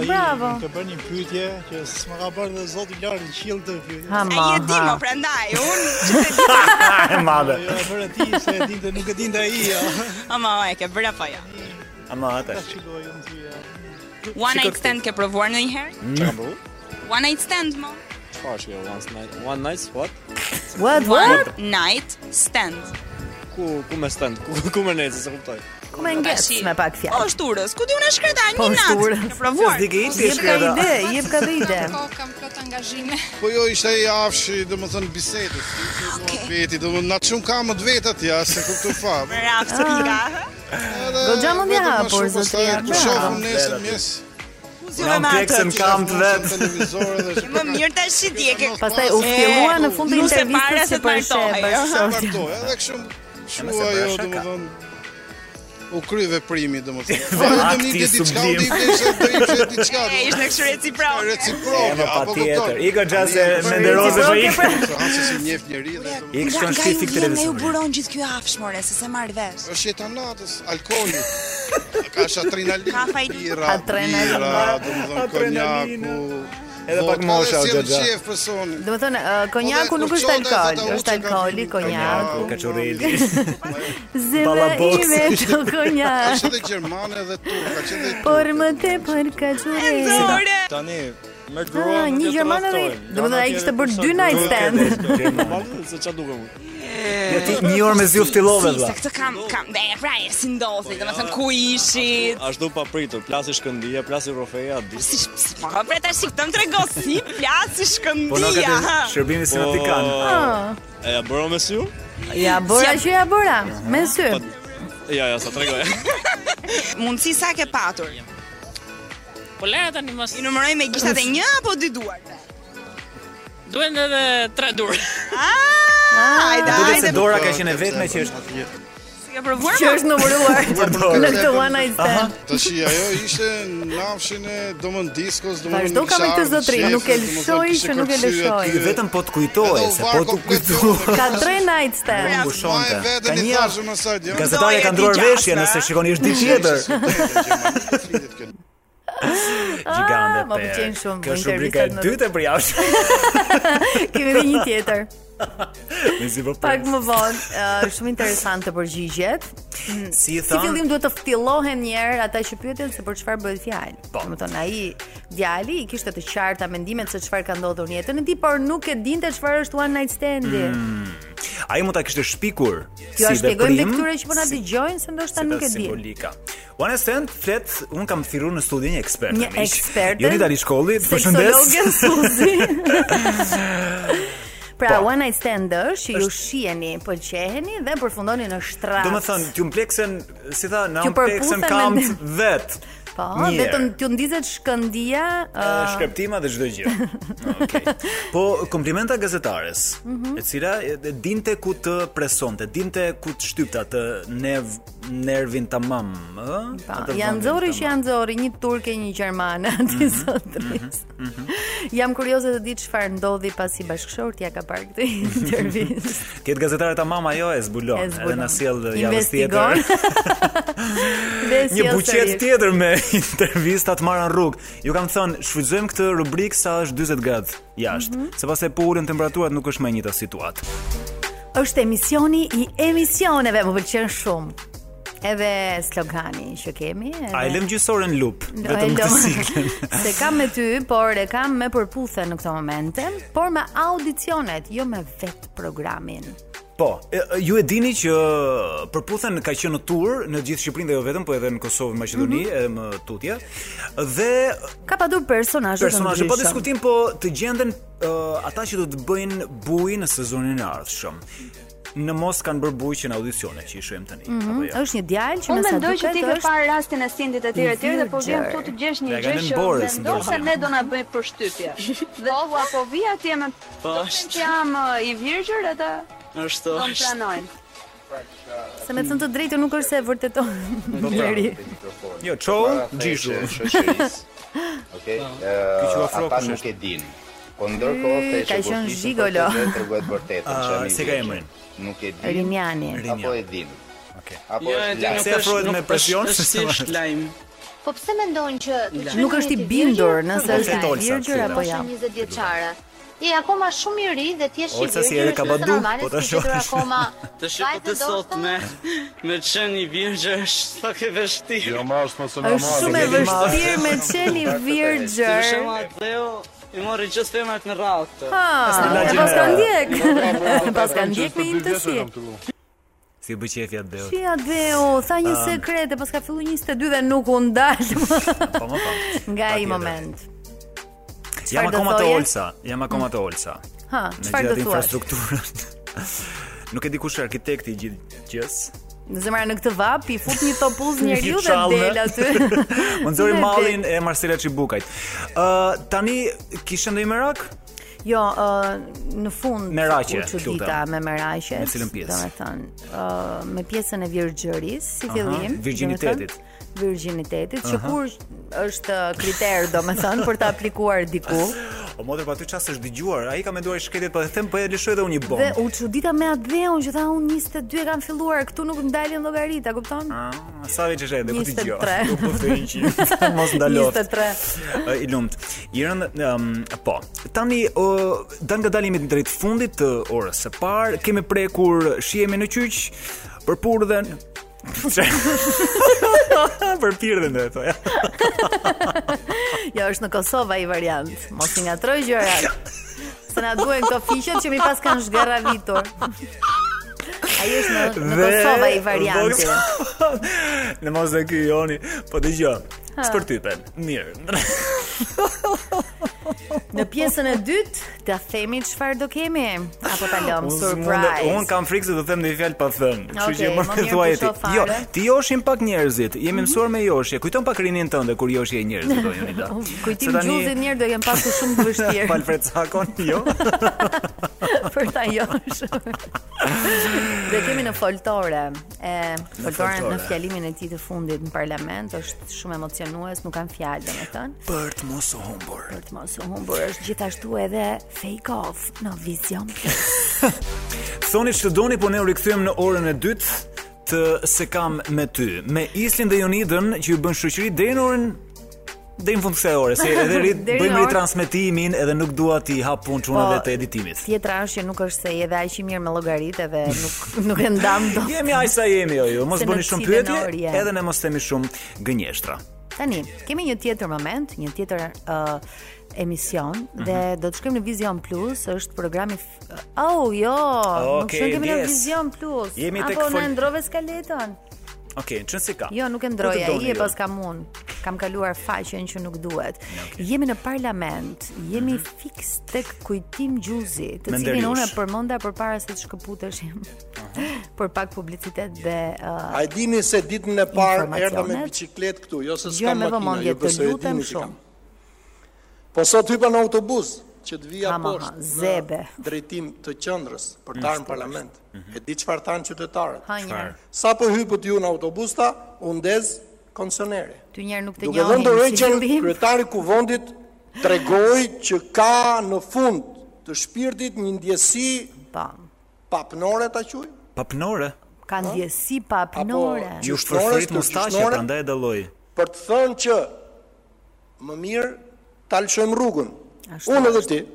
Speaker 2: Bravo.
Speaker 1: Të bërë një pyetje që s'ma ka bërë dhe Zoti i lartë qiell të pyetje.
Speaker 2: Ha
Speaker 9: Ai
Speaker 2: ma,
Speaker 9: e di
Speaker 2: ha.
Speaker 9: më prandaj. Unë
Speaker 8: e madhe.
Speaker 1: Jo, e bërë ti se e dinte nuk e dinte ai. ja.
Speaker 9: (laughs) ama e ke bërë apo jo?
Speaker 8: Ama ata.
Speaker 1: Shikoj unë ty. ja.
Speaker 9: One night stand ke provuar
Speaker 8: Mm.
Speaker 9: ndonjëherë?
Speaker 5: Çka kam provu?
Speaker 9: One night stand mo.
Speaker 5: Çfarë është kjo? One night, one night what?
Speaker 2: What,
Speaker 9: One
Speaker 2: what?
Speaker 9: night stand.
Speaker 5: Ku ku më stand? Ku ku më nece, se kuptoj.
Speaker 2: Ku me ngesh
Speaker 9: Tashi.
Speaker 2: me pak
Speaker 9: Po
Speaker 2: fjalë?
Speaker 9: shturës, ku di unë e shkreta
Speaker 2: Po,
Speaker 9: një natë.
Speaker 2: shturës.
Speaker 9: Ke provuar?
Speaker 8: S'di ke i
Speaker 2: Jep ka
Speaker 8: shkreta.
Speaker 2: ide, jep ka dhe ide.
Speaker 3: kam plot angazhime.
Speaker 5: Po jo ishte i afshi, domethënë bisedës. Okay. Veti, domethënë na shumë kam të vetat ja, se kuptoj fa.
Speaker 9: Bravo, Sofika.
Speaker 5: Edhe
Speaker 2: Goxha mund ja
Speaker 5: vetëm ma
Speaker 2: hapur,
Speaker 5: shumë
Speaker 2: zotria,
Speaker 5: pastaj, Ku
Speaker 2: bravo.
Speaker 5: shohim nesër mjes.
Speaker 9: Ku
Speaker 8: Jam teksën kam të
Speaker 5: Në
Speaker 8: vetë.
Speaker 5: televizor edhe shumë.
Speaker 9: Më mirë tash ti e ke.
Speaker 2: Pastaj u fillua në fund të
Speaker 9: nuse para
Speaker 2: intervistës
Speaker 9: se
Speaker 2: që
Speaker 9: të
Speaker 2: për
Speaker 9: martohej, jo?
Speaker 2: sheh,
Speaker 5: Sa
Speaker 2: për sheh.
Speaker 5: martoj, edhe kështu
Speaker 8: Nëse
Speaker 5: shua
Speaker 8: bëra
Speaker 5: jo
Speaker 8: shaka.
Speaker 5: domethënë u kry veprimi
Speaker 8: (laughs)
Speaker 5: domethënë. Po
Speaker 8: Akti
Speaker 5: vetëm një ditë diçka, u
Speaker 8: sublim.
Speaker 5: ditë se do ishte diçka.
Speaker 9: E ishte kështu reciproke.
Speaker 8: E
Speaker 5: Reciproke,
Speaker 8: më
Speaker 5: apo
Speaker 8: patjetër.
Speaker 5: kupton?
Speaker 8: Igor Xhase Menderoze po ik.
Speaker 5: Se Hansi si njeh njëri dhe
Speaker 8: Ik shkon
Speaker 9: nga ju vjen, nga
Speaker 8: shpifik
Speaker 9: ju
Speaker 8: televizor.
Speaker 9: buron gjithë kjo afsh, more, se se marr vesh.
Speaker 5: është jeta natës, alkooli. Ka sh adrenalin,
Speaker 9: Ka fajt-
Speaker 5: bira,
Speaker 2: Adrenalin.
Speaker 5: bira, domethënë
Speaker 8: Adrenalina.
Speaker 5: konjaku. Po,
Speaker 8: Edhe pak
Speaker 5: vodka,
Speaker 8: mosha,
Speaker 5: dhe
Speaker 8: o
Speaker 5: sjell
Speaker 8: Xhaxha.
Speaker 5: qef Po, personin.
Speaker 2: Do të thonë, ë, konjaku
Speaker 5: Ode,
Speaker 2: nuk është
Speaker 5: kurçonda,
Speaker 2: alkool,
Speaker 5: thota,
Speaker 2: është
Speaker 5: uçe ka
Speaker 2: alkooli,
Speaker 5: fillim.
Speaker 2: konjaku.
Speaker 8: Konjaku, kaçoreli.
Speaker 2: Zëra
Speaker 8: Ballaboksi.
Speaker 2: ime të
Speaker 5: Ka
Speaker 2: konjak,
Speaker 5: qenë dhe gjermane dhe turk, ka qenë dhe
Speaker 2: por më tepër kaçureli.
Speaker 9: Ore,
Speaker 1: Tani me
Speaker 2: Ah,
Speaker 1: gruan.
Speaker 2: një gjerman edhe, domethënë ai kishte bërë dy night stand.
Speaker 1: Se ç'a dukem unë.
Speaker 8: Ja ti një orë me zi u ftillove
Speaker 9: si,
Speaker 8: vlla.
Speaker 9: se këtë kam, kam, dhe e pra e si ndodhi, dhe me thënë ku ishit,
Speaker 1: Ashtu pa pritur, plasi Shkëndija, plasi Rofeja, di.
Speaker 9: si, sh- si, po, pre tash si këtë më trego, si plas, si
Speaker 8: Po nuk
Speaker 9: shkëndija,
Speaker 8: ka
Speaker 9: ha?
Speaker 8: shërbimi sinoptikan.
Speaker 2: Ah,
Speaker 1: E ja bëro me sy?
Speaker 2: Ja bëra që ja bëra, me sy.
Speaker 1: Ja, ja, sa tregoj.
Speaker 6: po,
Speaker 9: mundësi sa ke patur?
Speaker 4: Po le tani mos
Speaker 9: I numëroj me gishtat e një apo dy duarve?
Speaker 4: duhen edhe tre dur.
Speaker 9: Ah, hajde,
Speaker 8: Duket se
Speaker 9: hajde,
Speaker 8: dora ka qenë e vetme që është
Speaker 9: si ke provuar?
Speaker 2: Që është numëruar
Speaker 8: Përdorur.
Speaker 2: në këtë one night stand.
Speaker 5: Tash ajo ishte nafshin e domën diskos, domën.
Speaker 2: Vazhdo ka me këtë zotrin, nuk e lëshoj që nuk e lëshoj.
Speaker 8: Ky vetëm po të kujtoje, se po të
Speaker 5: (laughs)
Speaker 8: kujtoje.
Speaker 2: Ka tre night stand.
Speaker 5: Ai
Speaker 8: Mbushonte.
Speaker 5: veten
Speaker 8: Ka
Speaker 5: i
Speaker 8: një
Speaker 5: thashë më sa djom.
Speaker 8: gazetarja ka ndruar veshje nëse shikoni është ditë tjetër.
Speaker 2: (laughs)
Speaker 8: Gjigande.
Speaker 2: më Ah, pëlqen
Speaker 8: per.
Speaker 2: shumë
Speaker 8: Kjo është rubrika e
Speaker 2: intervistat në-
Speaker 8: dytë e
Speaker 2: (laughs)
Speaker 8: përjashtme.
Speaker 2: Kemi dhe një tjetër.
Speaker 8: Me zi po
Speaker 2: Pak
Speaker 8: pres.
Speaker 2: më vonë, ë, shumë interesante përgjigjet.
Speaker 8: Si
Speaker 2: Si
Speaker 8: i thanë?
Speaker 2: fillim duhet të ftillohen një herë ata që pyeten se për çfarë bëhet fjalë. Po. Domethënë ai djali i kishte të qarta mendimet se çfarë ka ndodhur në jetën e tij, por nuk e dinte çfarë është one night standi.
Speaker 8: Ai mund ta kishte shpikur.
Speaker 2: Kjo
Speaker 8: Mm, si
Speaker 2: e shpjegojmë
Speaker 8: veprim,
Speaker 2: dhe këtyre që po na
Speaker 8: si-
Speaker 2: dëgjojnë se ndoshta nuk e din.
Speaker 8: Simbolika. One Stand flet, un kam thirrur në studion një ekspert.
Speaker 2: Një
Speaker 8: miq.
Speaker 2: ekspertën,
Speaker 8: Jonida Rishkolli, të përshëndes.
Speaker 2: Seksologen
Speaker 8: (laughs)
Speaker 2: Suzi. Pra,
Speaker 8: Po.
Speaker 2: one night stand është që ju shiheni, pëlqeheni dhe përfundoni në shtrat.
Speaker 8: Do më thënë, t'ju mpleksen, si tha, na
Speaker 2: T'ju
Speaker 8: mpleksen
Speaker 2: përputhen
Speaker 8: kam
Speaker 2: me- (laughs)
Speaker 8: vetë.
Speaker 2: po,
Speaker 8: një herë.
Speaker 2: vetëm t'ju ndizet shkëndia,
Speaker 8: Edhe
Speaker 2: ë,
Speaker 8: shkreptima dhe çdo gjë. Okej. Po komplimenta gazetares,
Speaker 2: Mhm.
Speaker 8: e cila e- e dinte ku të presonte, dinte ku të shtypta të ne v- nervin tamam, ë?
Speaker 2: Pa,
Speaker 8: Atë
Speaker 2: janë
Speaker 8: vendin
Speaker 2: zori që
Speaker 8: tamam.
Speaker 2: janë zori, një turke, një gjermane, (laughs)
Speaker 8: Mhm,
Speaker 2: aty zotris. Jam kurioze të di çfarë ndodhi pasi bashkëshortja ka parë
Speaker 8: (laughs)
Speaker 2: këtë intervistë.
Speaker 8: Ketë gazetare tamam ajo e zbulon,
Speaker 2: E
Speaker 8: edhe
Speaker 2: zbulon.
Speaker 8: na sjell javës
Speaker 2: Investigon.
Speaker 8: tjetër.
Speaker 2: Dhe
Speaker 8: Një
Speaker 2: sjell
Speaker 8: buqet
Speaker 2: sërish.
Speaker 8: tjetër me (laughs) intervista të marra në rrugë. Ju kam thënë, shfrytëzojmë këtë rubrik sa është 40 gradë jashtë,
Speaker 2: Mhm.
Speaker 8: sepse po ulën temperaturat nuk është më e njëjta situatë.
Speaker 2: Është emisioni i emisioneve, më pëlqen shumë. Edhe slogani që kemi, edhe
Speaker 8: A e lëm gjysorën lup,
Speaker 2: Do e
Speaker 8: vetëm këtë
Speaker 2: lëm.
Speaker 8: siklen.
Speaker 2: (laughs) se kam me ty, por e kam me përputhe në këto momente, por me audicionet, jo me vetë programin.
Speaker 8: Po, e- e, ju e dini që uh, përputhen ka qenë në tur në gjithë Shqipërinë dhe jo vetëm, po edhe në Kosovë, në Maqedoni,
Speaker 2: Mhm.
Speaker 8: edhe më tutje. Dhe
Speaker 2: Ka padur personazhe të
Speaker 8: personazhe pa
Speaker 2: ndryshëm.
Speaker 8: diskutim, po të gjenden ë, ata që do të bëjnë buj në sezonin e ardhshëm. Në mos kanë bërë buj që në audicione që i shohim tani.
Speaker 2: Mhm.
Speaker 8: apo jo?
Speaker 2: Është një djalë që
Speaker 11: Unë
Speaker 2: me sa
Speaker 11: mendoj që ti
Speaker 2: duket
Speaker 11: ke
Speaker 2: është
Speaker 11: parë rastin e sindit e tjerë e tjerë dhe po vjen këtu të gjesh një
Speaker 8: Ja ka
Speaker 11: gjë
Speaker 8: lënë
Speaker 11: që
Speaker 8: Boris,
Speaker 11: ndoshta
Speaker 8: ndoshta.
Speaker 11: ne do na bëj përshtypje. Dhe po apo vi atje me
Speaker 4: Po,
Speaker 11: do të
Speaker 4: është.
Speaker 11: them që jam ë, i virgjër edhe
Speaker 4: Ashtu
Speaker 11: do më
Speaker 4: është.
Speaker 11: pranojnë.
Speaker 2: Se me thënë të drejtë nuk është se e vërteton.
Speaker 8: Po, pra.
Speaker 2: Njeri.
Speaker 8: Jo, çau,
Speaker 12: pra,
Speaker 8: gjishu.
Speaker 12: Okej.
Speaker 8: Ky që u
Speaker 12: Ë,
Speaker 8: afro
Speaker 12: ata
Speaker 8: kush
Speaker 12: nuk
Speaker 8: është?
Speaker 12: e dinë. Po ndërkohë
Speaker 2: Mm,
Speaker 12: te
Speaker 2: ka qenë
Speaker 12: shekurisë,
Speaker 2: zhigolo.
Speaker 12: po të treguhet vërtetën
Speaker 8: Ah,
Speaker 12: çfarë
Speaker 8: si ka emrin?
Speaker 12: Nuk e dinë.
Speaker 2: Rinjani.
Speaker 12: Apo e dinë. Okej. Apo
Speaker 4: Jo, e
Speaker 12: është
Speaker 4: di,
Speaker 12: lajm.
Speaker 4: nuk Se është- afrohet nuk me është- presion, është se- thjesht
Speaker 12: lajm.
Speaker 13: Po pse mendojnë që të
Speaker 4: Lajm.
Speaker 13: quajnë
Speaker 2: Nuk është i
Speaker 13: njëri
Speaker 2: bindur
Speaker 13: virgjër,
Speaker 2: nëse
Speaker 13: por
Speaker 2: është i
Speaker 13: Olsa,
Speaker 2: virgjër
Speaker 8: po
Speaker 2: apo
Speaker 13: Olsa
Speaker 2: jo.
Speaker 13: 20 vjeçare. Je akoma shumë i ri dhe ti je i
Speaker 8: Olsa
Speaker 13: virgjër.
Speaker 8: si erë ka
Speaker 13: është
Speaker 8: badu,
Speaker 13: normale,
Speaker 8: po ta
Speaker 13: s'ke gjetur
Speaker 8: shohësh.
Speaker 13: Akoma.
Speaker 4: Të shiko të
Speaker 13: Vajtë
Speaker 4: sot
Speaker 13: ndoshta-
Speaker 4: me me të qenë i virgjë është sa ke vështirë. Jo
Speaker 12: marrë mos e
Speaker 2: Është shumë e vështirë me të qenë i
Speaker 4: Për
Speaker 2: virgjër.
Speaker 4: shembull Atleo i mori gjithë femrat në radhë. këtë.
Speaker 2: Ha, e pas ka ndjek. E pas ka ndjek me intësi.
Speaker 8: (laughs) Si bëj qefja
Speaker 2: (laughs)
Speaker 8: deu.
Speaker 2: Shia dheu, tha një
Speaker 8: Um,
Speaker 2: sekret e pas ka fillu 22 dhe nuk u ndalë
Speaker 8: Po më pa.
Speaker 2: Nga i
Speaker 8: Patjetër.
Speaker 2: moment.
Speaker 8: Jam
Speaker 2: Çfarë do
Speaker 8: akoma te
Speaker 2: thoje?
Speaker 8: Olsa, jam akoma te Olsa.
Speaker 2: Ha,
Speaker 8: Në
Speaker 2: çfarë do
Speaker 8: gjithë
Speaker 2: thuash?
Speaker 8: infrastrukturën. (laughs) Nuk e di kush është arkitekti i gjithë
Speaker 2: (laughs)
Speaker 8: gjës.
Speaker 2: Në zemra në këtë vap i fut një topuz njeriu
Speaker 8: Një
Speaker 2: dhe
Speaker 8: çallë.
Speaker 2: del aty.
Speaker 8: Unë zori
Speaker 2: Dhe
Speaker 8: mallin e Marcela Çibukajt. Ë tani kishte ndonjë merak?
Speaker 2: Jo, ë, në fund
Speaker 8: Meraqe,
Speaker 2: u çudita
Speaker 8: lutem.
Speaker 2: me meraqe.
Speaker 8: Me cilën pjesë?
Speaker 2: Domethënë, ë, me pjesën e virgjërisë, si
Speaker 8: Aha,
Speaker 2: fillim,
Speaker 8: virgjinitetit.
Speaker 2: domethënë, virgjinitetit, që
Speaker 8: Aha.
Speaker 2: kur është kriter domethënë për të aplikuar
Speaker 8: (laughs)
Speaker 2: diku.
Speaker 8: O motër, pa aty çast është dëgjuar. Ai ka menduar shketit, po e them, po e lëshoj edhe unë një
Speaker 2: Dhe
Speaker 8: bombë.
Speaker 2: u çudita me atë dheun që tha unë 22 e kam filluar, këtu nuk ndalin llogarita, kupton?
Speaker 8: Ah, sa veç është edhe po ti gjoj. (laughs)
Speaker 2: 23.
Speaker 8: Po po të hiqi.
Speaker 2: (laughs)
Speaker 8: Mos ndaloft.
Speaker 2: 23.
Speaker 8: Ë, I lumt. Irën, um, po. Tani uh, dan nga dalimi drejt fundit të orës së parë, kemi prekur shihemi në qyq për purdhën. (laughs) për pirdhën do e thoja.
Speaker 2: Jo, është në Kosovë ai variant. Mos i ngatroj
Speaker 8: (laughs)
Speaker 2: gjërat. Se na duhen këto fiqet që mi pas kanë
Speaker 8: (laughs)
Speaker 2: zgaravitur. Ai është në, në Kosovë ai varianti.
Speaker 8: (laughs) Në mos dhe ky joni, po dëgjoj.
Speaker 2: Ha.
Speaker 8: Spërtypen. Mirë.
Speaker 2: Në pjesën e dytë, ta themi çfarë do kemi apo ta lëm
Speaker 8: Unë s'mund-
Speaker 2: surprise.
Speaker 8: Unë kam frikë se do them ndonjë fjalë pa thënë. Kështu
Speaker 2: Okej,
Speaker 8: që (laughs)
Speaker 2: më
Speaker 8: më
Speaker 2: mirë
Speaker 8: thuaj
Speaker 2: të
Speaker 8: ti.
Speaker 2: shoh fare. Mhm.
Speaker 8: Jo, ti joshim pak njerëzit. Jemi mësuar me joshje. Kujton pak rinin tënde kur joshi e njerëzit do
Speaker 2: (laughs)
Speaker 8: joni da.
Speaker 2: Kujtim
Speaker 8: (laughs)
Speaker 2: gjuzit njerë do jem pasu shumë të vështirë (laughs)
Speaker 8: Alfred Sakon, jo.
Speaker 2: për ta josh. Dhe kemi në foltore. E, foltore
Speaker 8: foltore.
Speaker 2: në fjalimin e tij të fundit në parlament është shumë emocionues, nuk kanë fjalë domethënë.
Speaker 8: Për të mos u humbur.
Speaker 2: Për të mos u humbur është gjithashtu edhe Fake Off në Vision Plus.
Speaker 8: Thoni ç'të doni, po ne u rikthyem në orën e dytë të se kam me ty. Me Islin dhe Jonidën që ju bën shoqëri deri në orën deri në fund të kësaj ore,
Speaker 2: (laughs)
Speaker 8: se edhe rit
Speaker 2: Deri në
Speaker 8: bëjmë
Speaker 2: orë-
Speaker 8: ritransmetimin edhe nuk dua ti hap punë çunave
Speaker 2: Po,
Speaker 8: të editimit.
Speaker 2: Tjetra është që nuk është se edhe aq i mirë me llogaritë dhe nuk nuk e ndam dot.
Speaker 8: Jemi ai sa jemi jo, ju, mos
Speaker 2: Se
Speaker 8: bëni
Speaker 2: në
Speaker 8: shumë
Speaker 2: cilën
Speaker 8: pyetje,
Speaker 2: orë jemi.
Speaker 8: edhe ne mos themi shumë gënjeshtra.
Speaker 2: Tani, kemi një tjetër moment, një tjetër uh, emision
Speaker 8: Mhm.
Speaker 2: dhe do të shkojmë në Vision Plus, është programi f- Oh, jo, nuk
Speaker 8: Okej,
Speaker 2: shkojmë kemi në
Speaker 8: ndjes.
Speaker 2: Vision Plus.
Speaker 8: Jemi tek
Speaker 2: Apo në
Speaker 8: fol-
Speaker 2: ndrove skaletën.
Speaker 8: Okej, çon si ka.
Speaker 2: Jo, nuk e
Speaker 8: Ku
Speaker 2: ndroja,
Speaker 8: të doni
Speaker 2: i e
Speaker 8: ju?
Speaker 2: pas kam unë. Kam kaluar faqen që nuk duhet. Jemi në parlament, jemi fiks tek kujtim gjuzi, të
Speaker 8: Mhm. Me
Speaker 2: cilin
Speaker 8: nderiush.
Speaker 2: unë e përmenda përpara se të shkëputeshim. (laughs) për pak publicitet dhe uh,
Speaker 14: A e dini se ditën e parë erdha me
Speaker 2: Informacionet.
Speaker 14: bicikletë këtu, jo se
Speaker 2: Gjë
Speaker 14: s'kam
Speaker 2: me
Speaker 14: makina,
Speaker 2: vëmendje,
Speaker 14: ju
Speaker 2: të
Speaker 14: besoj e
Speaker 2: lutem
Speaker 14: dini që
Speaker 2: shumë.
Speaker 14: kam. Po sot hypa në autobus, që të vija
Speaker 2: Ama,
Speaker 14: poshtë
Speaker 2: zebe.
Speaker 14: në drejtim të qendrës për të arë në parlament. E di çfarë than qytetarët.
Speaker 2: Ha, një herë. Çfarë?
Speaker 14: Sa po hypët ju në autobusta, u ndez konsioneri.
Speaker 2: Ty njerë nuk të
Speaker 14: Duke dhe
Speaker 2: njohin.
Speaker 14: ndërrej
Speaker 2: si
Speaker 14: që
Speaker 2: fillim.
Speaker 14: kryetari kuvendit tregoi që ka në fund të shpirtit një ndjesi
Speaker 2: pa
Speaker 14: papnore ta quaj.
Speaker 8: Papnore?
Speaker 2: Ka ndjesi pa apnore.
Speaker 8: Ju shfërfrit mustaqe,
Speaker 14: gjyshnore?
Speaker 8: prandaj e dalloj.
Speaker 14: për të thënë që më mirë ta lëshojmë rrugën.
Speaker 2: Ashtu
Speaker 14: Unë edhe ti,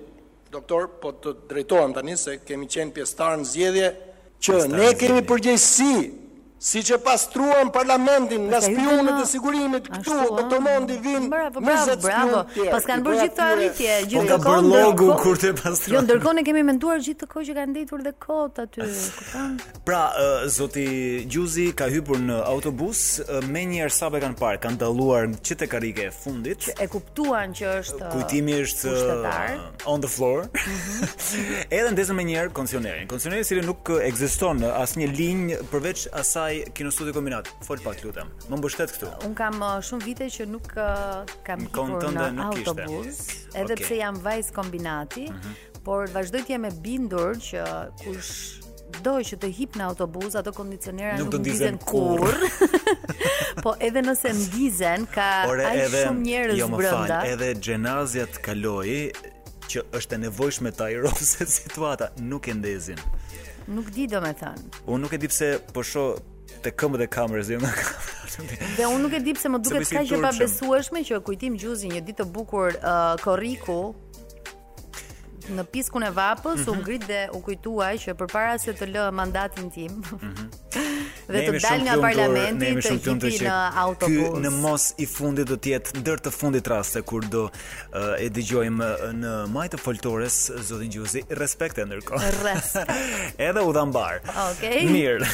Speaker 14: doktor, po të drejtohem tani se kemi qenë pjesëtar në zgjedhje që
Speaker 8: Pjesëtar
Speaker 14: ne
Speaker 8: në
Speaker 14: kemi
Speaker 8: zgjedhje.
Speaker 14: përgjegjësi si që pastruan parlamentin nga
Speaker 2: Pastaj hyrën
Speaker 14: spionët
Speaker 2: në-
Speaker 14: e sigurimit këtu,
Speaker 2: Ashtu,
Speaker 14: doktor Mondi vinë
Speaker 2: Bravo,
Speaker 14: 20
Speaker 2: bravo,
Speaker 14: spionë
Speaker 2: bravo.
Speaker 14: tjerë,
Speaker 2: Pas kanë
Speaker 14: i
Speaker 2: bërë
Speaker 14: bëja
Speaker 2: gjithë këto
Speaker 14: atyre-
Speaker 2: arritje,
Speaker 8: Po
Speaker 2: gjithë
Speaker 8: ka
Speaker 2: këto
Speaker 8: bërë
Speaker 2: kohë,
Speaker 8: logu
Speaker 2: ndërkohë-
Speaker 8: kur të pastron.
Speaker 2: Jo, ndërkohë ne kemi menduar gjithë të kohë që kanë ndejtur dhe kot aty, kupton?
Speaker 8: Pra, ë, zoti Gjuzi ka hyrë në autobus, ë, me një herë sapo e kanë parë, kanë dalluar që te karike e fundit.
Speaker 2: E kuptuan që është
Speaker 8: Kujtimi është
Speaker 2: pushtetar.
Speaker 8: ë, on the floor.
Speaker 2: Mhm.
Speaker 8: (laughs) Edhe ndezën më njëherë kondicionerin. Kondicioneri i cili nuk ë, ekziston në asnjë linjë përveç asaj kinostudi kombinat. Fol pak lutem. Më mbështet këtu.
Speaker 2: Un kam uh, shumë vite që nuk uh, kam
Speaker 8: Në kohën
Speaker 2: ikur
Speaker 8: tënde
Speaker 2: në
Speaker 8: nuk Mhm. ishte.
Speaker 2: autobus, edhe
Speaker 8: Okej.
Speaker 2: pse jam vajz kombinati, por vazhdoj të jem e bindur që kush do që të hip në autobus, ato kondicionera
Speaker 8: Nuk
Speaker 2: nuk,
Speaker 8: do ndizen
Speaker 2: ndizen kurrë. (laughs) po edhe nëse ndizen ka
Speaker 8: Ore
Speaker 2: aq
Speaker 8: edhe
Speaker 2: shumë njerëz
Speaker 8: jo, më
Speaker 2: brenda.
Speaker 8: Fal, edhe xhenazja të kaloi që është e nevojshme ta i (laughs) rofse situata, nuk e ndezin.
Speaker 2: Nuk di domethënë.
Speaker 8: Unë nuk e di pse po shoh te këmbët e kamerës dhe nga (laughs) kamera.
Speaker 2: Dhe unë nuk e di pse më duket
Speaker 8: besi
Speaker 2: kaq e
Speaker 8: turqëm.
Speaker 2: pabesueshme që kujtim gjuzi një ditë të bukur uh, korriku në piskun e vapës
Speaker 8: Mhm.
Speaker 2: u ngrit dhe u kujtua që përpara se të lë mandatin tim (laughs) dhe
Speaker 8: Mhm. Ne
Speaker 2: të
Speaker 8: jemi
Speaker 2: dal
Speaker 8: shumë
Speaker 2: nga
Speaker 8: lumtur, ne
Speaker 2: parlamenti
Speaker 8: jemi
Speaker 2: të
Speaker 8: shumë lumtur
Speaker 2: hipi
Speaker 8: që
Speaker 2: në
Speaker 8: ky
Speaker 2: autobus.
Speaker 8: Në mos i fundit do të jetë ndër të fundit raste kur do uh, e dëgjojmë uh, në majtë të foltores zotin Gjuzi, respekte ndërkohë.
Speaker 2: Respekt.
Speaker 8: (laughs) Edhe u dha mbar.
Speaker 2: Okej. (laughs)
Speaker 8: Mirë.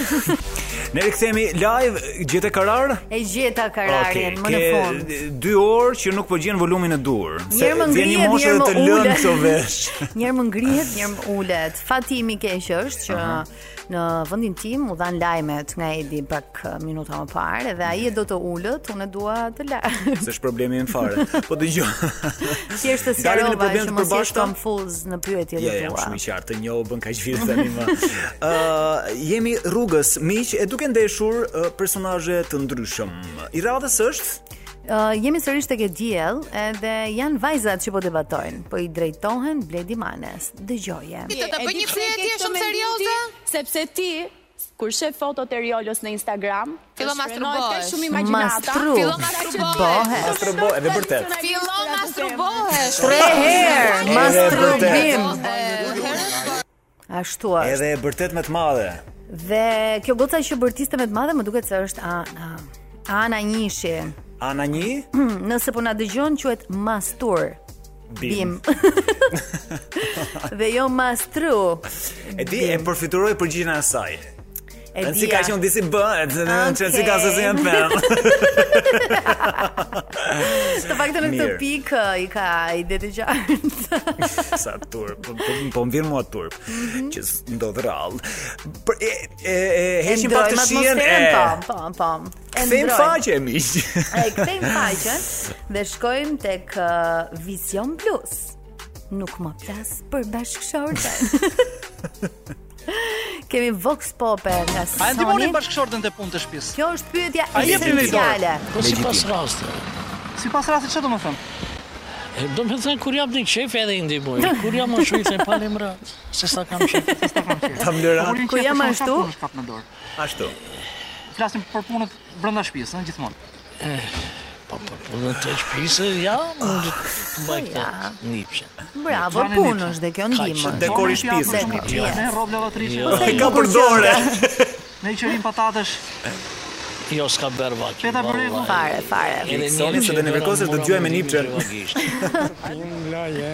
Speaker 8: ne rikthehemi live gjetë karar.
Speaker 2: E gjeta kararin më në fund.
Speaker 8: ke 2 orë që nuk po gjen volumin e dur.
Speaker 2: Njërë më
Speaker 8: vjen
Speaker 2: ngrihet,
Speaker 8: moshë
Speaker 2: njërë më
Speaker 8: dhe të lënë këto vesh.
Speaker 2: ulet. (laughs) Njërë më ngrihet, njërë më ulet. Fatimi i keq është që
Speaker 8: Aha.
Speaker 2: në vendin tim u dhan lajmet nga Edi pak eh, minuta më parë dhe ai e do të ulët, unë e dua të
Speaker 8: (laughs)
Speaker 2: laj.
Speaker 8: Se është problemi im fare. Po dëgjoj.
Speaker 2: Thjesht të
Speaker 8: Dalim në
Speaker 2: sqarova
Speaker 8: problem
Speaker 2: që
Speaker 8: të
Speaker 2: mos jesh
Speaker 8: përbashkëta?
Speaker 2: konfuz në pyetjet
Speaker 8: Ja,
Speaker 2: e
Speaker 8: jam
Speaker 2: tua.
Speaker 8: shumë i qartë, të njohën kaq vjet tani më. Ë, jemi rrugës miq e duke ndeshur uh, personazhe të ndryshëm. I radhës është
Speaker 2: Uh, jemi sërish tek e diell, edhe janë vajzat që po debatojnë, po i drejtohen Bledi Manes. Dëgjoje.
Speaker 15: Ti të të bëj një pyetje shumë serioze?
Speaker 16: Sepse ti kur shef fotot e Riolës në Instagram,
Speaker 15: Fillo
Speaker 16: të shfrenohet te
Speaker 15: masturbohesh.
Speaker 16: Shumë imagjinata.
Speaker 2: Mastru.
Speaker 16: Fillo
Speaker 2: Bohe.
Speaker 16: masturbohesh.
Speaker 8: Masturbo, edhe vërtet.
Speaker 15: Fillo masturbohesh.
Speaker 2: Tre herë
Speaker 8: Edhe
Speaker 2: masturbim. Ashtu është.
Speaker 8: Edhe e vërtet me të madhe.
Speaker 2: Dhe kjo goca që bërtiste me të madhe më duket se është Ana. Ana Njishi.
Speaker 8: Ana një
Speaker 2: Nëse po na dëgjon quhet mastur.
Speaker 8: bim.
Speaker 2: (laughs) Dhe jo mastru.
Speaker 8: E di e përfituroi përgjigjen e saj.
Speaker 2: E
Speaker 8: Nëse
Speaker 2: dija.
Speaker 8: ka qenë disi bëhet, nëse si ka se si janë pen.
Speaker 2: Të paktën në këtë
Speaker 8: Mirë.
Speaker 2: pikë i ka i det të qartë.
Speaker 8: Sa turp, po po, po më vjen mua turp.
Speaker 2: Mhm.
Speaker 8: Që s- ndodh rall. Për e e, e
Speaker 2: (laughs)
Speaker 8: heqim pak të
Speaker 2: Ndrojmë
Speaker 8: shihen e.
Speaker 2: atmosferën, Po, po, po. E
Speaker 8: Kthejmë
Speaker 2: ndrojmë.
Speaker 8: faqe miq.
Speaker 2: E kthejmë faqen dhe shkojmë tek uh, Vision Plus. Nuk më plas për
Speaker 8: (laughs)
Speaker 2: bashkëshorten. Kemi Vox Pope nga
Speaker 17: A e ndihmoni
Speaker 2: Sony.
Speaker 17: bashkëshortën te punë të shtëpisë?
Speaker 2: Kjo është pyetja
Speaker 17: A jep një
Speaker 2: esenciale.
Speaker 18: Po si pas raste.
Speaker 17: Si pas rasti çfarë do të thënë?
Speaker 18: E, Do me thënë, kur jam në qef edhe i ndihmoj. Kur jam në shujtë e palim ratë, se sa kam qef.
Speaker 8: Tam lëra.
Speaker 17: Kur
Speaker 2: Ku jam ashtu?
Speaker 17: Kap në dorë.
Speaker 8: Ashtu.
Speaker 17: Flasim për punët brenda shtëpisë, ëh, gjithmonë.
Speaker 18: Po, po, po, dhe të shpisë, ja, mund
Speaker 2: Ah,
Speaker 18: të mbaj këtë nipshe.
Speaker 2: Bravo, punë është dhe kjo ndihmë.
Speaker 18: dekor i shtëpisë
Speaker 2: Se
Speaker 18: është
Speaker 2: ti
Speaker 18: kjo.
Speaker 2: pjes.
Speaker 17: Ne roble vatriçe.
Speaker 18: Jo. E ka
Speaker 8: përdore.
Speaker 17: Ne i qërim patatesh.
Speaker 18: Jo, s'ka berë vaki.
Speaker 17: Peta bëri
Speaker 18: vallahi.
Speaker 2: Fare, fare.
Speaker 18: Edhe
Speaker 8: Soni,
Speaker 18: njëri
Speaker 8: se
Speaker 18: që
Speaker 8: do ne
Speaker 18: i
Speaker 8: vërkosësh, do
Speaker 18: mora
Speaker 8: t'gjuaj me
Speaker 18: me
Speaker 8: nipçe.
Speaker 18: libri vagisht.
Speaker 2: (laughs)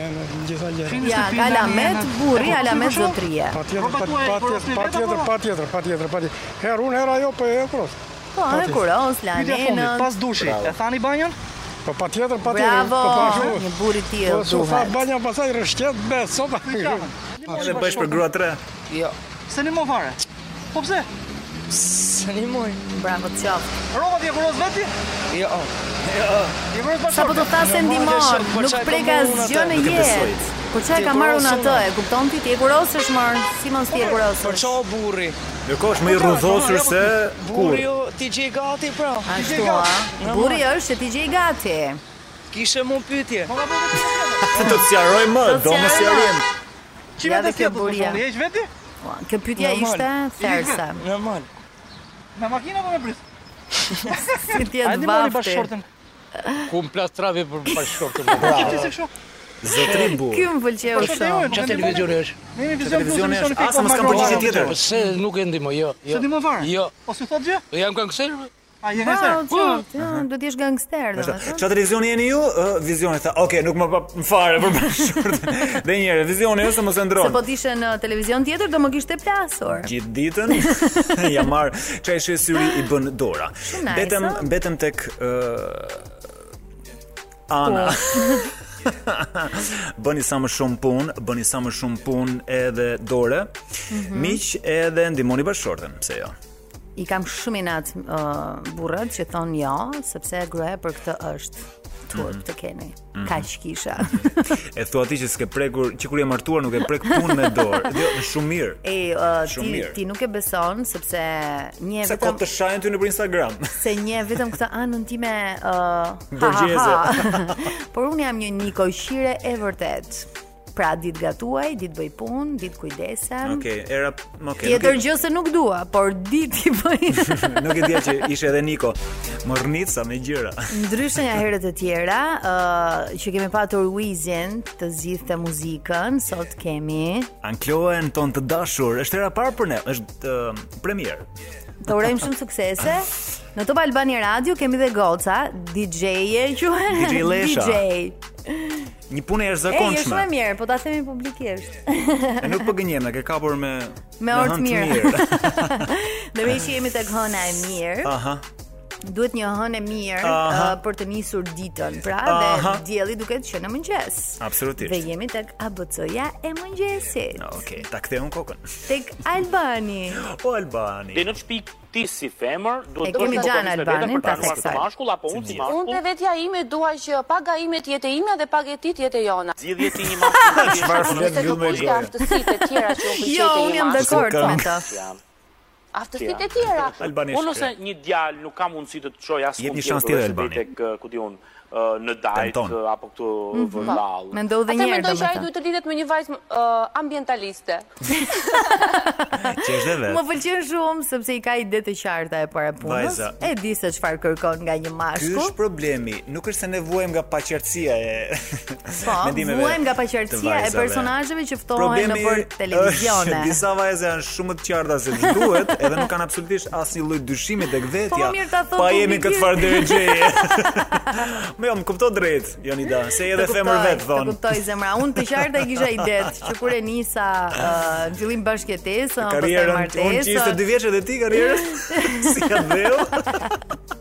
Speaker 2: Ja, ka alamet burri, alamet zotrie.
Speaker 19: Patjetër, patjetër, patjetër, patjetër, patjetër, patjetër. Herë unë, herë ajo, po e kuros.
Speaker 2: Po, e kuros, la
Speaker 19: Pyetja e fundit,
Speaker 2: nenën.
Speaker 19: pas dushi, e
Speaker 17: thani banjën?
Speaker 19: Po patjetër, patjetër.
Speaker 2: Bravo,
Speaker 19: po,
Speaker 2: një burr i tillë
Speaker 19: Po su fa
Speaker 2: duhet.
Speaker 19: banja pasaj rështjet be sot.
Speaker 8: Edhe bësh për grua tre.
Speaker 17: Jo. Se ne mo fare. Po pse?
Speaker 2: Se një moj. Bravo, të qoftë.
Speaker 17: Rova ti e kuros veti? Jo. Jo.
Speaker 2: po
Speaker 6: po
Speaker 20: po
Speaker 2: Sa po të thasë ndimon, nuk prek asgjë në jetë. Po çka e ka marrë unë atë, e kupton ti? Ti e kurosësh mor, Simon ti e kurosësh.
Speaker 20: Po ço burri.
Speaker 8: Në kosh më i rrudhosur se kur.
Speaker 20: Burri jo, ti gjej gati pra.
Speaker 2: Ashtu a. Burri është që ti gjej gati.
Speaker 20: Kishe mu pyetje.
Speaker 8: Do të sqaroj më,
Speaker 2: Do të
Speaker 8: do më
Speaker 2: sqaroj më.
Speaker 8: sqarim.
Speaker 2: Ja
Speaker 17: Çime
Speaker 2: dhe
Speaker 17: të
Speaker 2: kjo
Speaker 17: fjetë të
Speaker 2: buria.
Speaker 17: thoni, heq veti?
Speaker 2: Ua, Kjo pyetja
Speaker 20: Normal.
Speaker 2: ishte thersa.
Speaker 20: Normal.
Speaker 17: Me makina apo me prit?
Speaker 2: Si ti e
Speaker 17: Hajde mori
Speaker 2: bafti.
Speaker 17: bashkëshortën.
Speaker 20: Ku mplastravi për bashkëshortën.
Speaker 17: Ti se kështu.
Speaker 8: Zotrim burr.
Speaker 2: Ky më pëlqeu
Speaker 17: Po, shorti
Speaker 2: shumë.
Speaker 17: unë.
Speaker 20: Çfarë televizioni është?
Speaker 17: Ne jemi vizion plus
Speaker 8: Televizioni
Speaker 17: emision
Speaker 8: është,
Speaker 17: fake.
Speaker 8: asë mos kam përgjigje tjetër.
Speaker 20: Po se nuk e ndihmoj, jo, jo.
Speaker 17: Se di më fare.
Speaker 20: Jo,
Speaker 17: Po si thot gjë?
Speaker 20: po jam kanë kësër.
Speaker 17: A je
Speaker 2: Po,
Speaker 17: gangster?
Speaker 2: ço, do të jesh gangster
Speaker 8: Vazhdo.
Speaker 2: domethënë.
Speaker 8: Çfarë televizioni jeni ju? Ë, Vizioni tha. Okej, nuk më pa- më fare për bashkëshortën. (laughs) Dhe një herë, vizioni ose mos e
Speaker 2: Se
Speaker 8: ndron.
Speaker 2: po t'ishe në televizion tjetër do më kishte plasur.
Speaker 8: Gjithë ditën
Speaker 2: (laughs)
Speaker 8: ja marr çaj shi syri i bën dora.
Speaker 2: Shumë nice,
Speaker 8: Betëm
Speaker 2: a?
Speaker 8: betëm tek ë Ana.
Speaker 2: Po.
Speaker 8: (laughs) bëni sa më shumë punë, bëni sa më shumë punë edhe dore.
Speaker 2: Mhm.
Speaker 8: Miq edhe ndihmoni bashkëshortën, pse jo?
Speaker 2: I kam shumë inat uh, burrat që thon jo, sepse gruaja për këtë është
Speaker 8: Mhm.
Speaker 2: turp të keni. Kaq
Speaker 8: (laughs)
Speaker 2: kisha.
Speaker 8: E thua ti që s'ke prekur, që kur je martuar nuk e prek punë me
Speaker 2: (laughs)
Speaker 8: dorë. Jo, shumë mirë.
Speaker 2: E uh,
Speaker 8: Shumë
Speaker 2: ti
Speaker 8: mirë.
Speaker 2: ti nuk e beson sepse një
Speaker 8: Sa kohë
Speaker 2: vetëm
Speaker 8: të shajnë ty në për Instagram.
Speaker 2: se një vetëm këtë anën time uh, ha, ha,
Speaker 8: Borgjeze.
Speaker 2: ha. (laughs) Por unë jam një nikoqire e vërtet. Pra ditë gatuaj, ditë bëj punë, ditë kujdesem.
Speaker 8: Okej, era, okej.
Speaker 2: Tjetër gjë se nuk dua, por po ditë i bëj.
Speaker 8: (laughs) Nuk e dija që ishte edhe Niko. Mornica me gjëra.
Speaker 2: Ndryshe nga herët e tjera, ë që kemi patur Wizin të zgjidhte muzikën, sot kemi.
Speaker 8: Ankloen ton të dashur, është era parë për ne, është uh, premier.
Speaker 2: Të urojmë shumë suksese. Në Top Albani Radio kemi dhe goca, DJ-je quhen.
Speaker 8: (laughs) DJ
Speaker 2: (laughs)
Speaker 8: Lesha.
Speaker 2: DJ.
Speaker 8: Një punë
Speaker 2: E,
Speaker 8: e
Speaker 2: je shumë e
Speaker 8: jashtëzakonshme.
Speaker 2: mirë, po ta themi
Speaker 8: (laughs)
Speaker 2: publikisht.
Speaker 8: E nuk po gënjem, e ke kapur me
Speaker 2: Me orë të
Speaker 8: hënë
Speaker 2: mirë. (laughs) Dhe me që jemi tek hëna e mirë,
Speaker 8: Aha.
Speaker 2: duhet një hënë e mirë
Speaker 8: Aha.
Speaker 2: ë, për të nisur ditën, pra,
Speaker 8: Aha.
Speaker 2: dhe dielli duket që në mëngjes.
Speaker 8: Absolutisht.
Speaker 2: Dhe jemi tek ABC-ja e mëngjesit,
Speaker 8: Okej, ta ktheu në kokën.
Speaker 2: tek Albani.
Speaker 8: O Albani.
Speaker 21: Dhe në shtëpi ti si femër
Speaker 2: E
Speaker 8: Po,
Speaker 21: duhet
Speaker 2: kemi
Speaker 21: të
Speaker 2: Gjan Albanin,
Speaker 21: për ta
Speaker 2: pas
Speaker 21: kaluar
Speaker 2: kësaj.
Speaker 21: si mashkull apo unë si
Speaker 3: Unë
Speaker 21: mashkull.
Speaker 3: të vetja ime dua që paga ime të jetë e imja dhe paga e ti të jetë e jona.
Speaker 21: Zgjidhje ti një
Speaker 8: (laughs)
Speaker 21: mashkull. ti je
Speaker 8: Çfarë
Speaker 21: shumë
Speaker 8: flet
Speaker 21: e
Speaker 8: mbyll me
Speaker 3: Ishte
Speaker 8: gojë.
Speaker 3: aftësitë e tjera
Speaker 2: (laughs)
Speaker 3: që unë
Speaker 2: Jo,
Speaker 3: pëlqejnë
Speaker 2: unë jam
Speaker 3: jashtë.
Speaker 2: dakord
Speaker 8: Kam-
Speaker 2: me të.
Speaker 21: Jam.
Speaker 3: Aftësitë e tjera.
Speaker 8: Albani.
Speaker 21: Unë ose një djalë nuk ka mundësi të të çoj as
Speaker 8: Jep një
Speaker 21: tjetër,
Speaker 8: shans tjetër,
Speaker 21: ose
Speaker 8: Albani.
Speaker 21: tek uh, ku diun uh, në dajt
Speaker 8: Tenton.
Speaker 21: uh, apo këtu vëndall.
Speaker 2: Mendoj
Speaker 3: Atë
Speaker 2: edhe një herë
Speaker 3: Mhm. mendoj që ai
Speaker 2: domethënë.
Speaker 3: duhet të lidhet me një vajzë ë, ambientaliste.
Speaker 8: Që është dhe
Speaker 2: Më
Speaker 8: vetë.
Speaker 2: pëlqen shumë sepse i ka ide të qarta e para punës.
Speaker 8: Vajza.
Speaker 2: E di se çfarë kërkon nga një
Speaker 8: Ky
Speaker 2: mashkull.
Speaker 8: është problemi, nuk është se ne vuajmë nga paqartësia e (laughs)
Speaker 2: Po,
Speaker 8: mendimeve
Speaker 2: vuajmë nga
Speaker 8: të
Speaker 2: paqartësia e
Speaker 8: vajzave.
Speaker 2: personazheve që ftohen nëpër televizione.
Speaker 8: është (laughs) që disa vajza janë shumë të qarta se
Speaker 2: (laughs)
Speaker 8: duhet, edhe nuk kanë absolutisht asnjë lloj dyshimi tek vetja.
Speaker 2: Po, mirë ta thon
Speaker 8: pa jemi
Speaker 2: publikisht.
Speaker 8: këtë farë derëxheje.
Speaker 2: (laughs)
Speaker 8: (laughs) më jam kupton drejt, Jonida, se edhe
Speaker 2: Të kuptoj,
Speaker 8: femër vet
Speaker 2: Të
Speaker 8: thon.
Speaker 2: kuptoj zemra. Unë të qarta e kisha idet që kur e nisa ë, në fillim bashkëtesën, pastaj
Speaker 8: Karrierën, unë që ishte
Speaker 2: po, martesën.
Speaker 8: 2 vjeç edhe ti karrierën
Speaker 2: (laughs)
Speaker 8: si ka dhëu.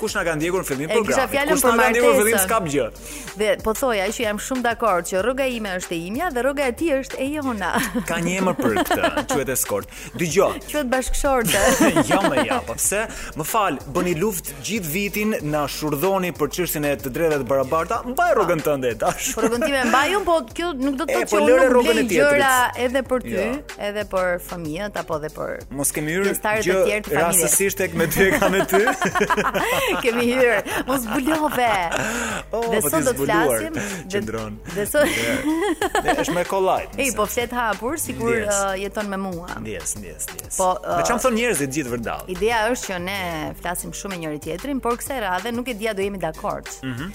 Speaker 8: Kush na ka ndjekur në fillim
Speaker 2: E kisha
Speaker 8: programit?
Speaker 2: fjalën
Speaker 8: Kush
Speaker 2: për
Speaker 8: na ka ndjekur në fillim
Speaker 2: martesën.
Speaker 8: s'kap gjë?
Speaker 2: Dhe po thoja që jam shumë dakord që rroga ime është e imja dhe rroga e tij është e jona. (laughs)
Speaker 8: Ka një emër për këtë, quhet eskort. Dgjoj,
Speaker 2: Quhet
Speaker 8: (laughs)
Speaker 2: bashkëshorte.
Speaker 8: jo më ja, po pse? Më fal, bëni luftë gjithë vitin, na shurdhoni për çështjen e të drejtave të barabarta, mbaj rrogën tënde tash.
Speaker 2: Po rrugën time mbaj unë, po kjo nuk do të
Speaker 8: E,
Speaker 2: thotë
Speaker 8: po
Speaker 2: që unë
Speaker 8: lëre
Speaker 2: nuk
Speaker 8: rrugën
Speaker 2: blej
Speaker 8: e tjetrit.
Speaker 2: gjëra edhe për ty,
Speaker 8: Jo.
Speaker 2: edhe për fëmijët apo edhe
Speaker 8: (laughs)
Speaker 2: për (laughs)
Speaker 8: Mos kemi hyrë
Speaker 2: Pjesëtarët e
Speaker 8: gjë
Speaker 2: tjerë të familjes.
Speaker 8: rastësisht tek me ty e ka me ty.
Speaker 2: (laughs) kemi hyrë. Mos bulove.
Speaker 8: (laughs) Oh,
Speaker 2: Dhe
Speaker 8: po
Speaker 2: sot
Speaker 8: ti
Speaker 2: do të
Speaker 8: zbuluar. (laughs)
Speaker 2: flasim dhe-
Speaker 8: Qëndron.
Speaker 2: Dhe
Speaker 8: (laughs)
Speaker 2: sot
Speaker 8: Ne është me kollaj.
Speaker 2: (laughs) Ej, po flet hapur sikur
Speaker 8: Ndjes.
Speaker 2: uh, jeton me mua.
Speaker 8: Ndjes, ndjes, ndjes.
Speaker 2: Po,
Speaker 8: Me
Speaker 2: ë,
Speaker 8: çam thon njerëzit gjithë vërdall.
Speaker 2: Ideja është që ne flasim shumë me njëri tjetrin, por kësaj radhe nuk e dia do jemi dakord.
Speaker 8: Mhm.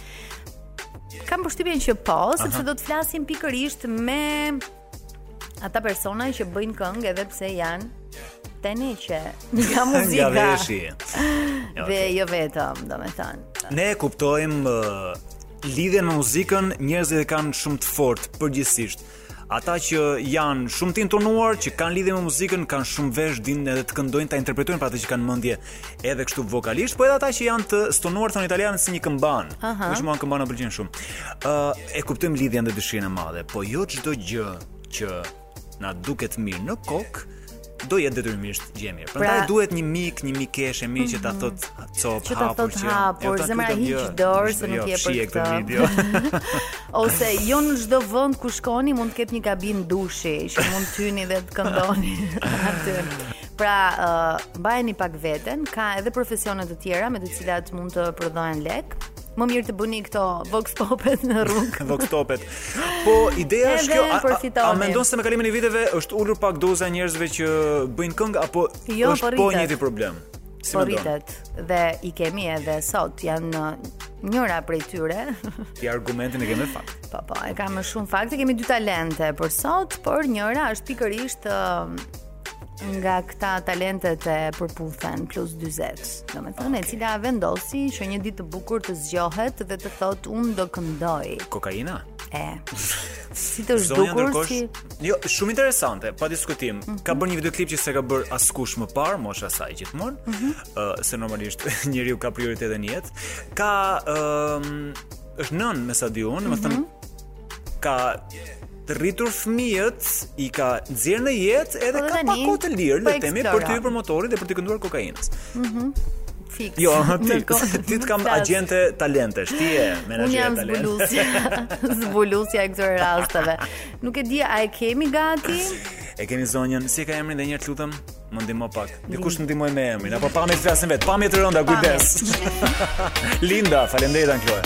Speaker 2: Kam përshtypjen që po, sepse do të flasim pikërisht me ata persona që bëjnë këngë edhe pse janë teneqe nga muzika.
Speaker 8: (laughs) Nga veshi. Ja,
Speaker 2: Dhe
Speaker 8: okay.
Speaker 2: jo vetëm, domethënë.
Speaker 8: Ne e kuptojmë uh, lidhjen me muzikën, njerëzit e kanë shumë të fortë përgjithsisht. Ata që janë shumë të intonuar, që kanë lidhje me muzikën, kanë shumë vesh, dinë edhe të këndojnë, ta interpretojnë për ata që kanë mendje edhe kështu vokalisht, po edhe ata që janë të stonuar thon italian si një këmban.
Speaker 2: Aha.
Speaker 8: Kush mua këmban pëlqen shumë. Ë e kuptojmë lidhjen dhe dëshirën e madhe, po jo çdo gjë që na duket mirë në kokë do jetë detyrimisht gjë e mirë.
Speaker 2: Pra- Mhm.
Speaker 8: Prandaj duhet një mik, një mikeshe e mirë që ta thot cop
Speaker 2: Që ta
Speaker 8: hapur
Speaker 2: thot hapur,
Speaker 8: ta
Speaker 2: zemra
Speaker 8: lutem,
Speaker 2: hiq
Speaker 8: jo,
Speaker 2: dorë, se nuk
Speaker 8: jo,
Speaker 2: je për
Speaker 8: fshije këtë
Speaker 2: këtë.
Speaker 8: video.
Speaker 2: (laughs)
Speaker 8: (laughs)
Speaker 2: Ose jo në çdo vend ku shkoni mund të ketë një kabinë dushi që mund të hyni dhe të këndoni (laughs) aty. Pra, uh, mbajeni pak veten, ka edhe profesione të tjera me të cilat mund të prodhohen lek. Më mirë të bëni këto vox popet në rrugë.
Speaker 8: Vox topet. Po ideja është
Speaker 2: Edhe
Speaker 8: kjo, a- a, a,
Speaker 2: përfitoni.
Speaker 8: mendon se me kalimin e viteve është ulur pak doza e njerëzve që bëjnë këngë apo
Speaker 2: Jo, po
Speaker 8: është po
Speaker 2: rritet.
Speaker 8: njëti problem? Si
Speaker 2: po
Speaker 8: mendon?
Speaker 2: rritet dhe i kemi edhe sot janë uh, njëra prej tyre (laughs)
Speaker 8: Ti argumentin e kemë fakt.
Speaker 2: Po, po, e ka më shumë fakte, kemi dy talente për sot, por njëra është pikërisht ë, nga këta talentet e përputhen plus 40, domethënë e cila vendosi që një ditë të bukur të zgjohet dhe të thotë unë do këndoj.
Speaker 8: Kokaina?
Speaker 2: E. Si të
Speaker 8: Zonja
Speaker 2: zhdukur
Speaker 8: ndërkohë
Speaker 2: si Mhm.
Speaker 8: jo, shumë interesante, pa diskutim. Ka bërë një videoklip që s'e ka bërë askush më parë, mosha e saj gjithmonë,
Speaker 2: Mhm.
Speaker 8: ë, se normalisht (laughs) njeriu ka prioritete në jetë. Ka ëm është nën me sa di unë, do të
Speaker 2: Mhm.
Speaker 8: thënë ka të rritur fëmijët, i ka nxjerrë në jetë edhe
Speaker 2: Po,
Speaker 8: ka
Speaker 2: tani,
Speaker 8: pak kohë të lirë,
Speaker 2: po
Speaker 8: le të themi, për të
Speaker 2: eksploron.
Speaker 8: hyrë për motorin dhe për të kënduar kokainës.
Speaker 2: Mhm. Fix. (laughs)
Speaker 8: Jo, ti,
Speaker 2: Ndërkohë-
Speaker 8: (laughs) ti të kam
Speaker 2: Flas.
Speaker 8: agjente talentesh, ti je
Speaker 2: Unë
Speaker 8: menaxher
Speaker 2: jam
Speaker 8: talent.
Speaker 2: zbulusja, (laughs) zbulusja e këtyre rasteve. Nuk e di a e kemi gati?
Speaker 8: E keni zonjën, si e ka emrin dhe njëherë të lutem, më ndihmo pak. Dikush më ndihmoj me emrin, apo pamje të flasim vet. Pamje të rënda, kujdes. (laughs) Linda, faleminderit An Kloe.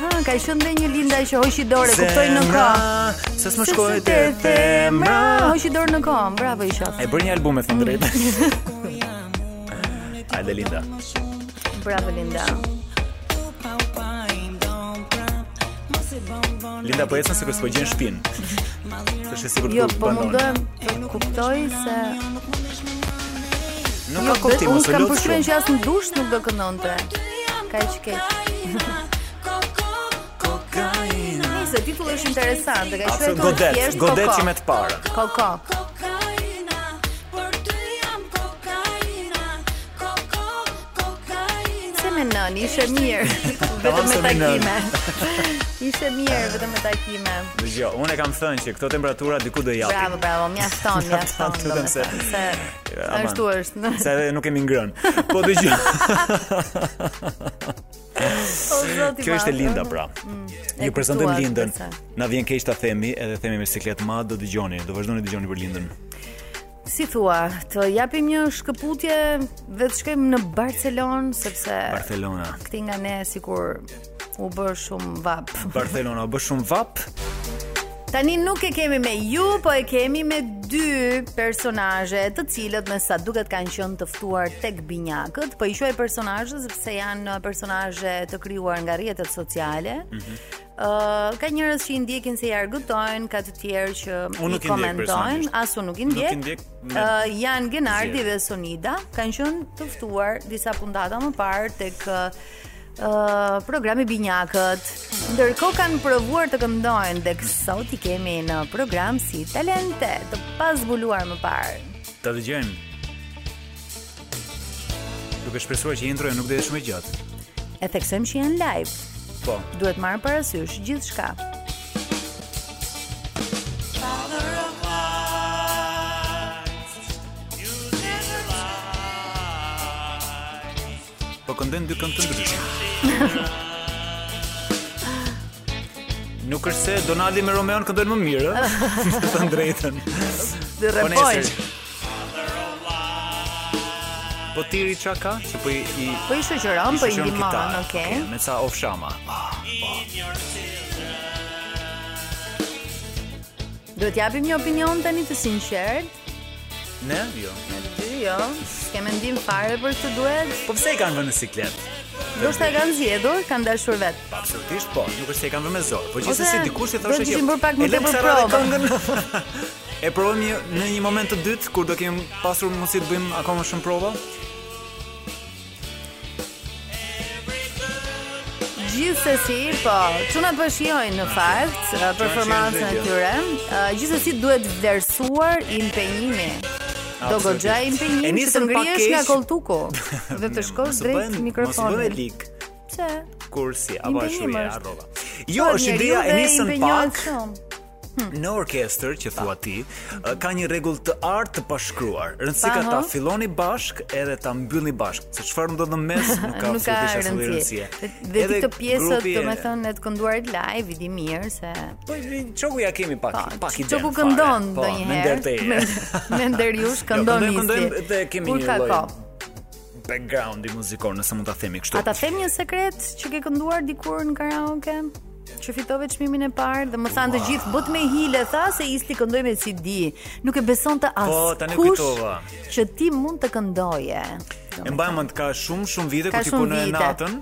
Speaker 2: Ha, ka qenë dhe një Linda që hoqi dorë, kuptoj në
Speaker 8: Zemra,
Speaker 2: kohë.
Speaker 8: se s'më shkoj te zemra.
Speaker 2: Hoqi dorë në kohë, bravo i shoh.
Speaker 8: E bërë një
Speaker 2: (laughs)
Speaker 8: album me thënë drejt. Hajde Linda.
Speaker 2: Bravo Linda.
Speaker 8: Linda po ecën sikur s'po gjen shtëpinë. Është e sigurt
Speaker 2: Jo,
Speaker 8: ku
Speaker 2: po
Speaker 8: banon.
Speaker 2: mundohem të kuptoj se
Speaker 8: Nuk
Speaker 2: Jo,
Speaker 8: ka kuptim,
Speaker 2: unë
Speaker 8: ose
Speaker 2: kam
Speaker 8: lutsh
Speaker 2: përshtypjen
Speaker 8: shumë.
Speaker 2: që as në dush nuk do këndonte. Kaq keq. Nëse titulli është interesant, e ka
Speaker 8: Atë
Speaker 2: shkruar
Speaker 8: godet,
Speaker 2: thjesht po
Speaker 8: godet
Speaker 2: Koko.
Speaker 8: që me të parën.
Speaker 2: Koko. Se me nën, ishe
Speaker 8: (laughs)
Speaker 2: mirë, vetëm me
Speaker 8: se me nën.
Speaker 2: takime. (laughs) Ishe mirë, vetëm me takime.
Speaker 8: Dgjoj, unë e kam thënë që këto temperatura diku do japin.
Speaker 2: Bravo, bravo,
Speaker 8: (laughs)
Speaker 2: mjafton, mjafton.
Speaker 8: Të them se
Speaker 2: domethënë, se
Speaker 8: Aman.
Speaker 2: Ashtu është.
Speaker 8: Se edhe nuk kemi ngrënë. Po dëgjoj.
Speaker 2: (laughs) O, zoti
Speaker 8: Kjo ishte
Speaker 2: madh.
Speaker 8: Linda pra.
Speaker 2: Mm, e
Speaker 8: Ju prezantojmë
Speaker 2: kuptuar,
Speaker 8: Lindën.
Speaker 2: përse.
Speaker 8: Na vjen keq ta themi, edhe themi me siklet ma do dëgjoni, do vazhdoni dëgjoni për Lindën.
Speaker 2: Si thua, të japim një shkëputje dhe të shkojmë në Barcelonë sepse
Speaker 8: Barcelona.
Speaker 2: këti nga ne sikur u bë shumë vap.
Speaker 8: Barcelona u bë shumë vap.
Speaker 2: Tani nuk e kemi me ju, po e kemi me dy personazhe, të cilët me sa duket kanë qenë të ftuar tek binjakët, po i quaj personazhe sepse janë personazhe të krijuar nga rrjetet sociale.
Speaker 8: Mhm.
Speaker 2: Ë, ka njerëz që i ndjekin se i argëtojnë, ka të tjerë që
Speaker 8: Unë nuk i ndjek
Speaker 2: komentojnë,
Speaker 8: personalisht.
Speaker 2: as unë nuk i
Speaker 8: Nuk i
Speaker 2: ndjek.
Speaker 8: ndjek, me-
Speaker 2: Ë, janë Genardi
Speaker 8: Zjerë.
Speaker 2: dhe Sonida, kanë qenë të ftuar disa puntata më parë tek ë programi Binjakët. Ndërkohë kanë provuar të këndojnë dhe sot i kemi në program si talente të pazbuluar më parë.
Speaker 8: Ta dëgjojmë. Duke shpresuar që introja nuk do jetë shumë e gjatë.
Speaker 2: E theksojmë që janë live.
Speaker 8: Po.
Speaker 2: Duhet marrë parasysh gjithçka.
Speaker 8: Po këndojnë dy këngë të ndryshme.
Speaker 2: (laughs)
Speaker 8: Nuk është se Donaldi me Romeon këndojnë më
Speaker 2: (laughs)
Speaker 8: mirë, ë? Me të drejtën.
Speaker 2: Dhe
Speaker 8: Po
Speaker 2: repojnë.
Speaker 8: nesër. Po tiri qa ka? Që po i... i
Speaker 2: Po i shoqëron,
Speaker 8: i
Speaker 2: po i
Speaker 8: shoqëron
Speaker 2: ndihmon,
Speaker 8: kitarë.
Speaker 2: okay.
Speaker 8: me ca off shama. Ah, po.
Speaker 2: Duhet japim një opinion tani të sinqert.
Speaker 8: Ne? Jo.
Speaker 2: Ne të dy jo, s'kemë ndim fare për këtë duhet.
Speaker 8: Po pse i kanë vënë në siklet?
Speaker 2: Do shta e kanë zgjedhur, kanë dashur vetë.
Speaker 8: Pa, Absolutisht po, nuk është se i kanë vënë me zor. Po gjithsesi
Speaker 2: Ose
Speaker 8: dikush i
Speaker 2: do
Speaker 8: thoshte
Speaker 2: të kishin bërë pak më
Speaker 8: "E lem
Speaker 2: tepër
Speaker 8: kësaj radhe
Speaker 2: prova."
Speaker 8: këngën."
Speaker 2: (laughs)
Speaker 8: e provojmë një, në një moment të dytë kur do kemi pasur mundësi të bëjmë akoma shumë prova.
Speaker 2: Gjithsesi, po, çuna po shijojnë në fakt eh, performancën e
Speaker 8: që janë
Speaker 2: tyre. Eh, Gjithsesi duhet vlerësuar impenjimi. Do
Speaker 8: Absolutisht.
Speaker 2: goxha impenjim
Speaker 8: E
Speaker 2: që të
Speaker 8: nisëm pak
Speaker 2: ngrihesh nga
Speaker 8: keq.
Speaker 2: koltuku
Speaker 8: (laughs)
Speaker 2: dhe të shkosh
Speaker 8: Mos u bën-
Speaker 2: drejt
Speaker 8: Mos u bën
Speaker 2: mikrofonit.
Speaker 8: lik
Speaker 2: Pse?
Speaker 8: kur si apo
Speaker 2: Impenjim
Speaker 8: ashtu e
Speaker 2: është.
Speaker 8: harrova. Jo,
Speaker 2: Po,
Speaker 8: është
Speaker 2: njeriu
Speaker 8: ideja e
Speaker 2: dhe
Speaker 8: nisën
Speaker 2: impenjohet
Speaker 8: pak.
Speaker 2: shumë.
Speaker 8: Në orkestër që thua ti, ë, ka një rregull të artë të pashkruar. Rëndësi ka
Speaker 2: Pa,
Speaker 8: ta
Speaker 2: ho.
Speaker 8: filloni bashk edhe ta mbyllni bashk. Se çfarë ndodh në
Speaker 2: (laughs)
Speaker 8: mes nuk ka
Speaker 2: nuk ka
Speaker 8: absolutisht asnjë
Speaker 2: rëndësi.
Speaker 8: rëndësie.
Speaker 2: Dhe- Dhe
Speaker 8: Edhe
Speaker 2: këto pjesët,
Speaker 8: grupi e-
Speaker 2: domethënë, e të kënduarit live i di mirë se
Speaker 8: Po çoku ja kemi pak, pak ide. Po,
Speaker 2: çoku këndon
Speaker 8: Me
Speaker 2: ndonjëherë.
Speaker 8: nder
Speaker 2: (laughs)
Speaker 8: teje. Jo,
Speaker 2: Me nder
Speaker 8: (laughs)
Speaker 2: jush këndon
Speaker 8: këndojmë,
Speaker 2: nisi.
Speaker 8: këndojmë dhe kemi
Speaker 2: Kur
Speaker 8: një
Speaker 2: ka
Speaker 8: lloj-
Speaker 2: kohë?
Speaker 8: Backgroundi muzikor, nëse mund ta themi kështu.
Speaker 2: A ta them një sekret që ke kënduar dikur në karaoke? Që fitove çmimin e parë dhe më thanë të
Speaker 8: Ua.
Speaker 2: gjithë bot me hile tha se isti këndoj me CD. Nuk e besonte as
Speaker 8: Po, tani
Speaker 2: kush
Speaker 8: kujtova.
Speaker 2: që ti mund të këndoje.
Speaker 8: E mbaj mend ka shumë shumë vite
Speaker 2: Ka
Speaker 8: ku ti
Speaker 2: shumë
Speaker 8: punoj
Speaker 2: vite.
Speaker 8: natën.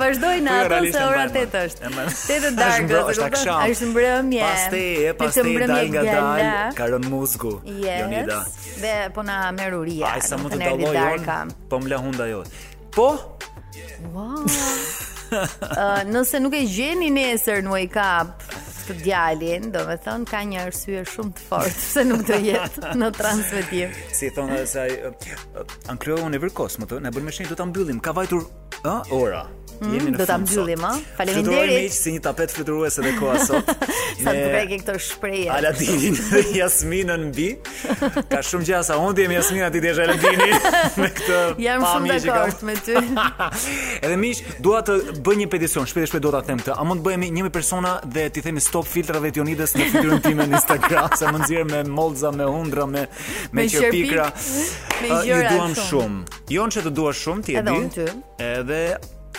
Speaker 2: Vazhdoj në
Speaker 8: Po, jo,
Speaker 2: atë
Speaker 8: realisht
Speaker 2: se
Speaker 8: e
Speaker 2: ora
Speaker 8: mbaj
Speaker 2: 8
Speaker 8: mend.
Speaker 2: është.
Speaker 8: E mbaj-
Speaker 2: 8 e
Speaker 8: Është
Speaker 2: darkës.
Speaker 8: mbrë-
Speaker 2: e
Speaker 8: është
Speaker 2: kupton?
Speaker 8: akşam.
Speaker 2: Është mbrëmje.
Speaker 8: Pastaj, e
Speaker 2: Me të
Speaker 8: pastaj dal
Speaker 2: mbrëmje
Speaker 8: nga dal,
Speaker 2: gjalla.
Speaker 8: ka rënë muzgu.
Speaker 2: Yes.
Speaker 8: Jonida.
Speaker 2: Dhe po na meruria.
Speaker 8: Ai sa mund të
Speaker 2: domethënë, erdhi
Speaker 8: dalloj
Speaker 2: darka.
Speaker 8: on, po më la hunda jote. Po,
Speaker 2: Wow. (laughs) Ë, nëse nuk e gjeni nesër në Wake Up të djalin, do me thënë ka një arsye shumë të fortë (laughs) se nuk do jetë në transmetim.
Speaker 8: si thonë edhe se ai ankleu unë e vërkos më thonë, na bën me shenjë do ta mbyllim. Ka vajtur ë ora.
Speaker 2: Mm,
Speaker 8: Jemi në
Speaker 2: do ta
Speaker 8: fund sot.
Speaker 2: mbyllim, ë?
Speaker 8: Fluturojmë
Speaker 2: Faleminderit.
Speaker 8: miq si një tapet fluturuese dhe koha sot.
Speaker 2: (laughs) Sa të preke këto shprehje.
Speaker 8: Aladinin dhe Jasminën mbi. Ka shumë gjasa. Unë ti jemi Jasmina, ti jesh
Speaker 2: (laughs)
Speaker 8: Aladini me këtë
Speaker 2: Jam shumë
Speaker 8: pamje që kam.
Speaker 2: dakord me ty.
Speaker 8: (laughs) Edhe miq, dua të bëj një peticion, shpejt e shpejt do ta them këtë. A mund të bëhemi 1000 persona dhe ti themi stop filtrave të Jonidës në fytyrën time në Instagram, se më nxjerr me mollza, me hundra, me me,
Speaker 2: Me
Speaker 8: qerpikra.
Speaker 2: qerpik, me
Speaker 8: Ë, ju
Speaker 2: gjëra
Speaker 8: duam
Speaker 2: shumë.
Speaker 8: shumë. Jon që të dua shumë ti e
Speaker 2: Edhe
Speaker 8: di.
Speaker 2: unë ty.
Speaker 8: Edhe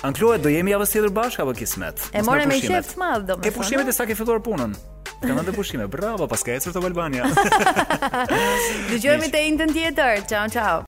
Speaker 8: Ankloe do jemi javës tjetër bashkë apo kismet?
Speaker 2: E
Speaker 8: Mos
Speaker 2: more me
Speaker 8: pushimet.
Speaker 2: qef të madh, do me
Speaker 8: Ke pushimet e sa ke filluar punën. Kam edhe
Speaker 2: (laughs)
Speaker 8: pushime. Bravo, paska ecur të Albania.
Speaker 2: Dëgjojmë të njëjtën tjetër. Ciao, ciao.